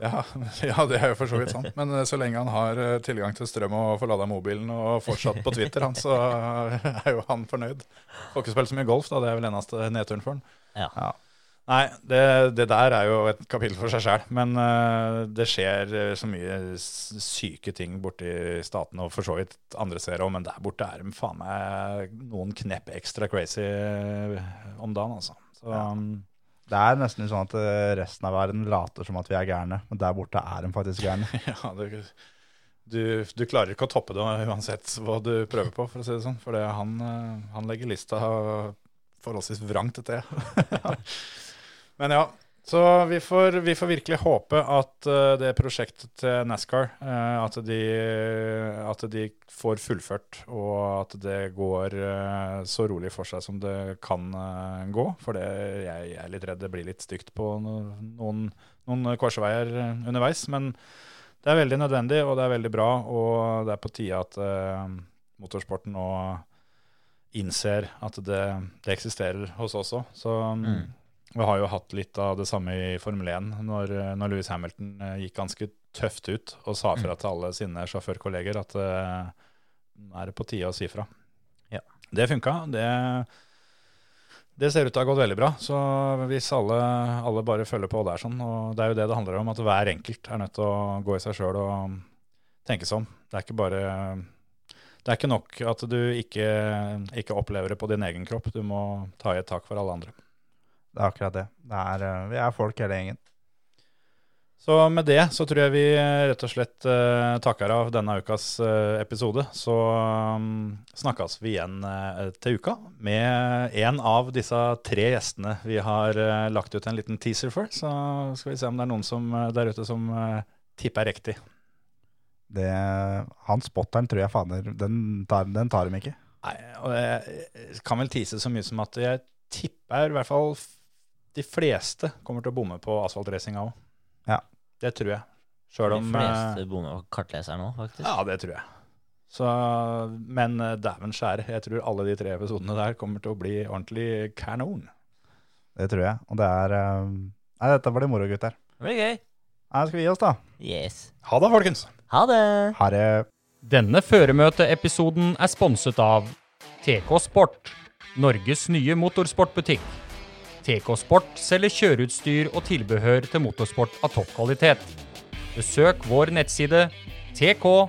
Speaker 4: ja, ja, det er jo for så vidt sant, men eh, så lenge han har eh, tilgang til strøm og får lada mobilen og fortsatt på Twitter, han, så eh, er jo han fornøyd. Får ikke spilt så mye golf, da, det er vel eneste nedturen for han.
Speaker 6: Ja.
Speaker 5: Ja.
Speaker 4: Nei, det, det der er jo et kapittel for seg sjøl. Men eh, det skjer eh, så mye s- syke ting borti statene, og for så vidt andre steder òg, men der borte er de faen meg noen knepp ekstra crazy eh, om dagen, altså. Så, um,
Speaker 5: Det er nesten sånn at eh, resten av verden later som at vi er gærne, men der borte er de faktisk gærne.
Speaker 4: ja, du, du, du klarer ikke å toppe det uansett hva du prøver på, for å si det sånn. For det, han, eh, han legger lista forholdsvis vrangt etter. Men ja, Så vi får, vi får virkelig håpe at eh, det prosjektet til NASCAR eh, at, de, at de får fullført, og at det går eh, så rolig for seg som det kan eh, gå. For det, jeg, jeg er litt redd det blir litt stygt på no, noen, noen korsveier eh, underveis. Men det er veldig nødvendig, og det er veldig bra, og det er på tide at eh, motorsporten nå innser at det, det eksisterer hos oss òg. Så
Speaker 6: Mm.
Speaker 4: vi har jo hatt litt av det samme i Formel 1, når, når Louis Hamilton eh, gikk ganske tøft ut og
Speaker 6: Mm.
Speaker 4: sa fra til alle sine sjåførkolleger at eh, nå er det på tide å si fra.
Speaker 6: Ja.
Speaker 4: Det funka. Det, det ser ut til å ha gått veldig bra. Så hvis alle, alle bare følger på der sånn, og det er jo det det handler om, at hver enkelt er nødt til å gå i seg sjøl og tenke seg om. Det er ikke bare det er ikke nok at du ikke, ikke opplever det på din egen kropp, du må ta i et tak for alle andre.
Speaker 5: Det er akkurat det. det er, eh, vi er folk hele gjengen.
Speaker 4: Så med det så tror jeg vi eh, rett og slett eh, takker av denne ukas eh, episode. Så um, snakkes vi igjen eh, til uka med en av disse tre gjestene. Vi har eh, lagt ut en liten teaser for, så skal vi se om det er noen som, eh, der ute som eh, tipper riktig.
Speaker 5: Det, han spotteren tror jeg fader Den tar, den tar dem ikke.
Speaker 4: Nei, og jeg kan vel tease så mye som at jeg tipper i hvert fall f- de fleste kommer til å bomme på asfaltracinga òg.
Speaker 5: Ja.
Speaker 4: Det tror jeg. Sjøl
Speaker 6: De
Speaker 4: om eh,
Speaker 6: fleste bommer på kartleseren nå, faktisk.
Speaker 4: Ja, det tror jeg. Så, men eh, dæven skjære, jeg tror alle de tre episodene der kommer til å bli ordentlig kanon.
Speaker 5: Det tror jeg. Og det er eh, Nei, dette blir moro, gutter.
Speaker 6: Det blir gøy.
Speaker 5: Nei, skal vi gi oss, da?
Speaker 6: Yes.
Speaker 4: Ha det, folkens!
Speaker 6: Ha det!
Speaker 5: Ha det.
Speaker 1: Denne føremøteepisoden er sponset av TK Sport, Norges nye motorsportbutikk. TK Sport selger kjøreutstyr og tilbehør til motorsport av toppkvalitet. Besøk vår nettside tk-sport.no.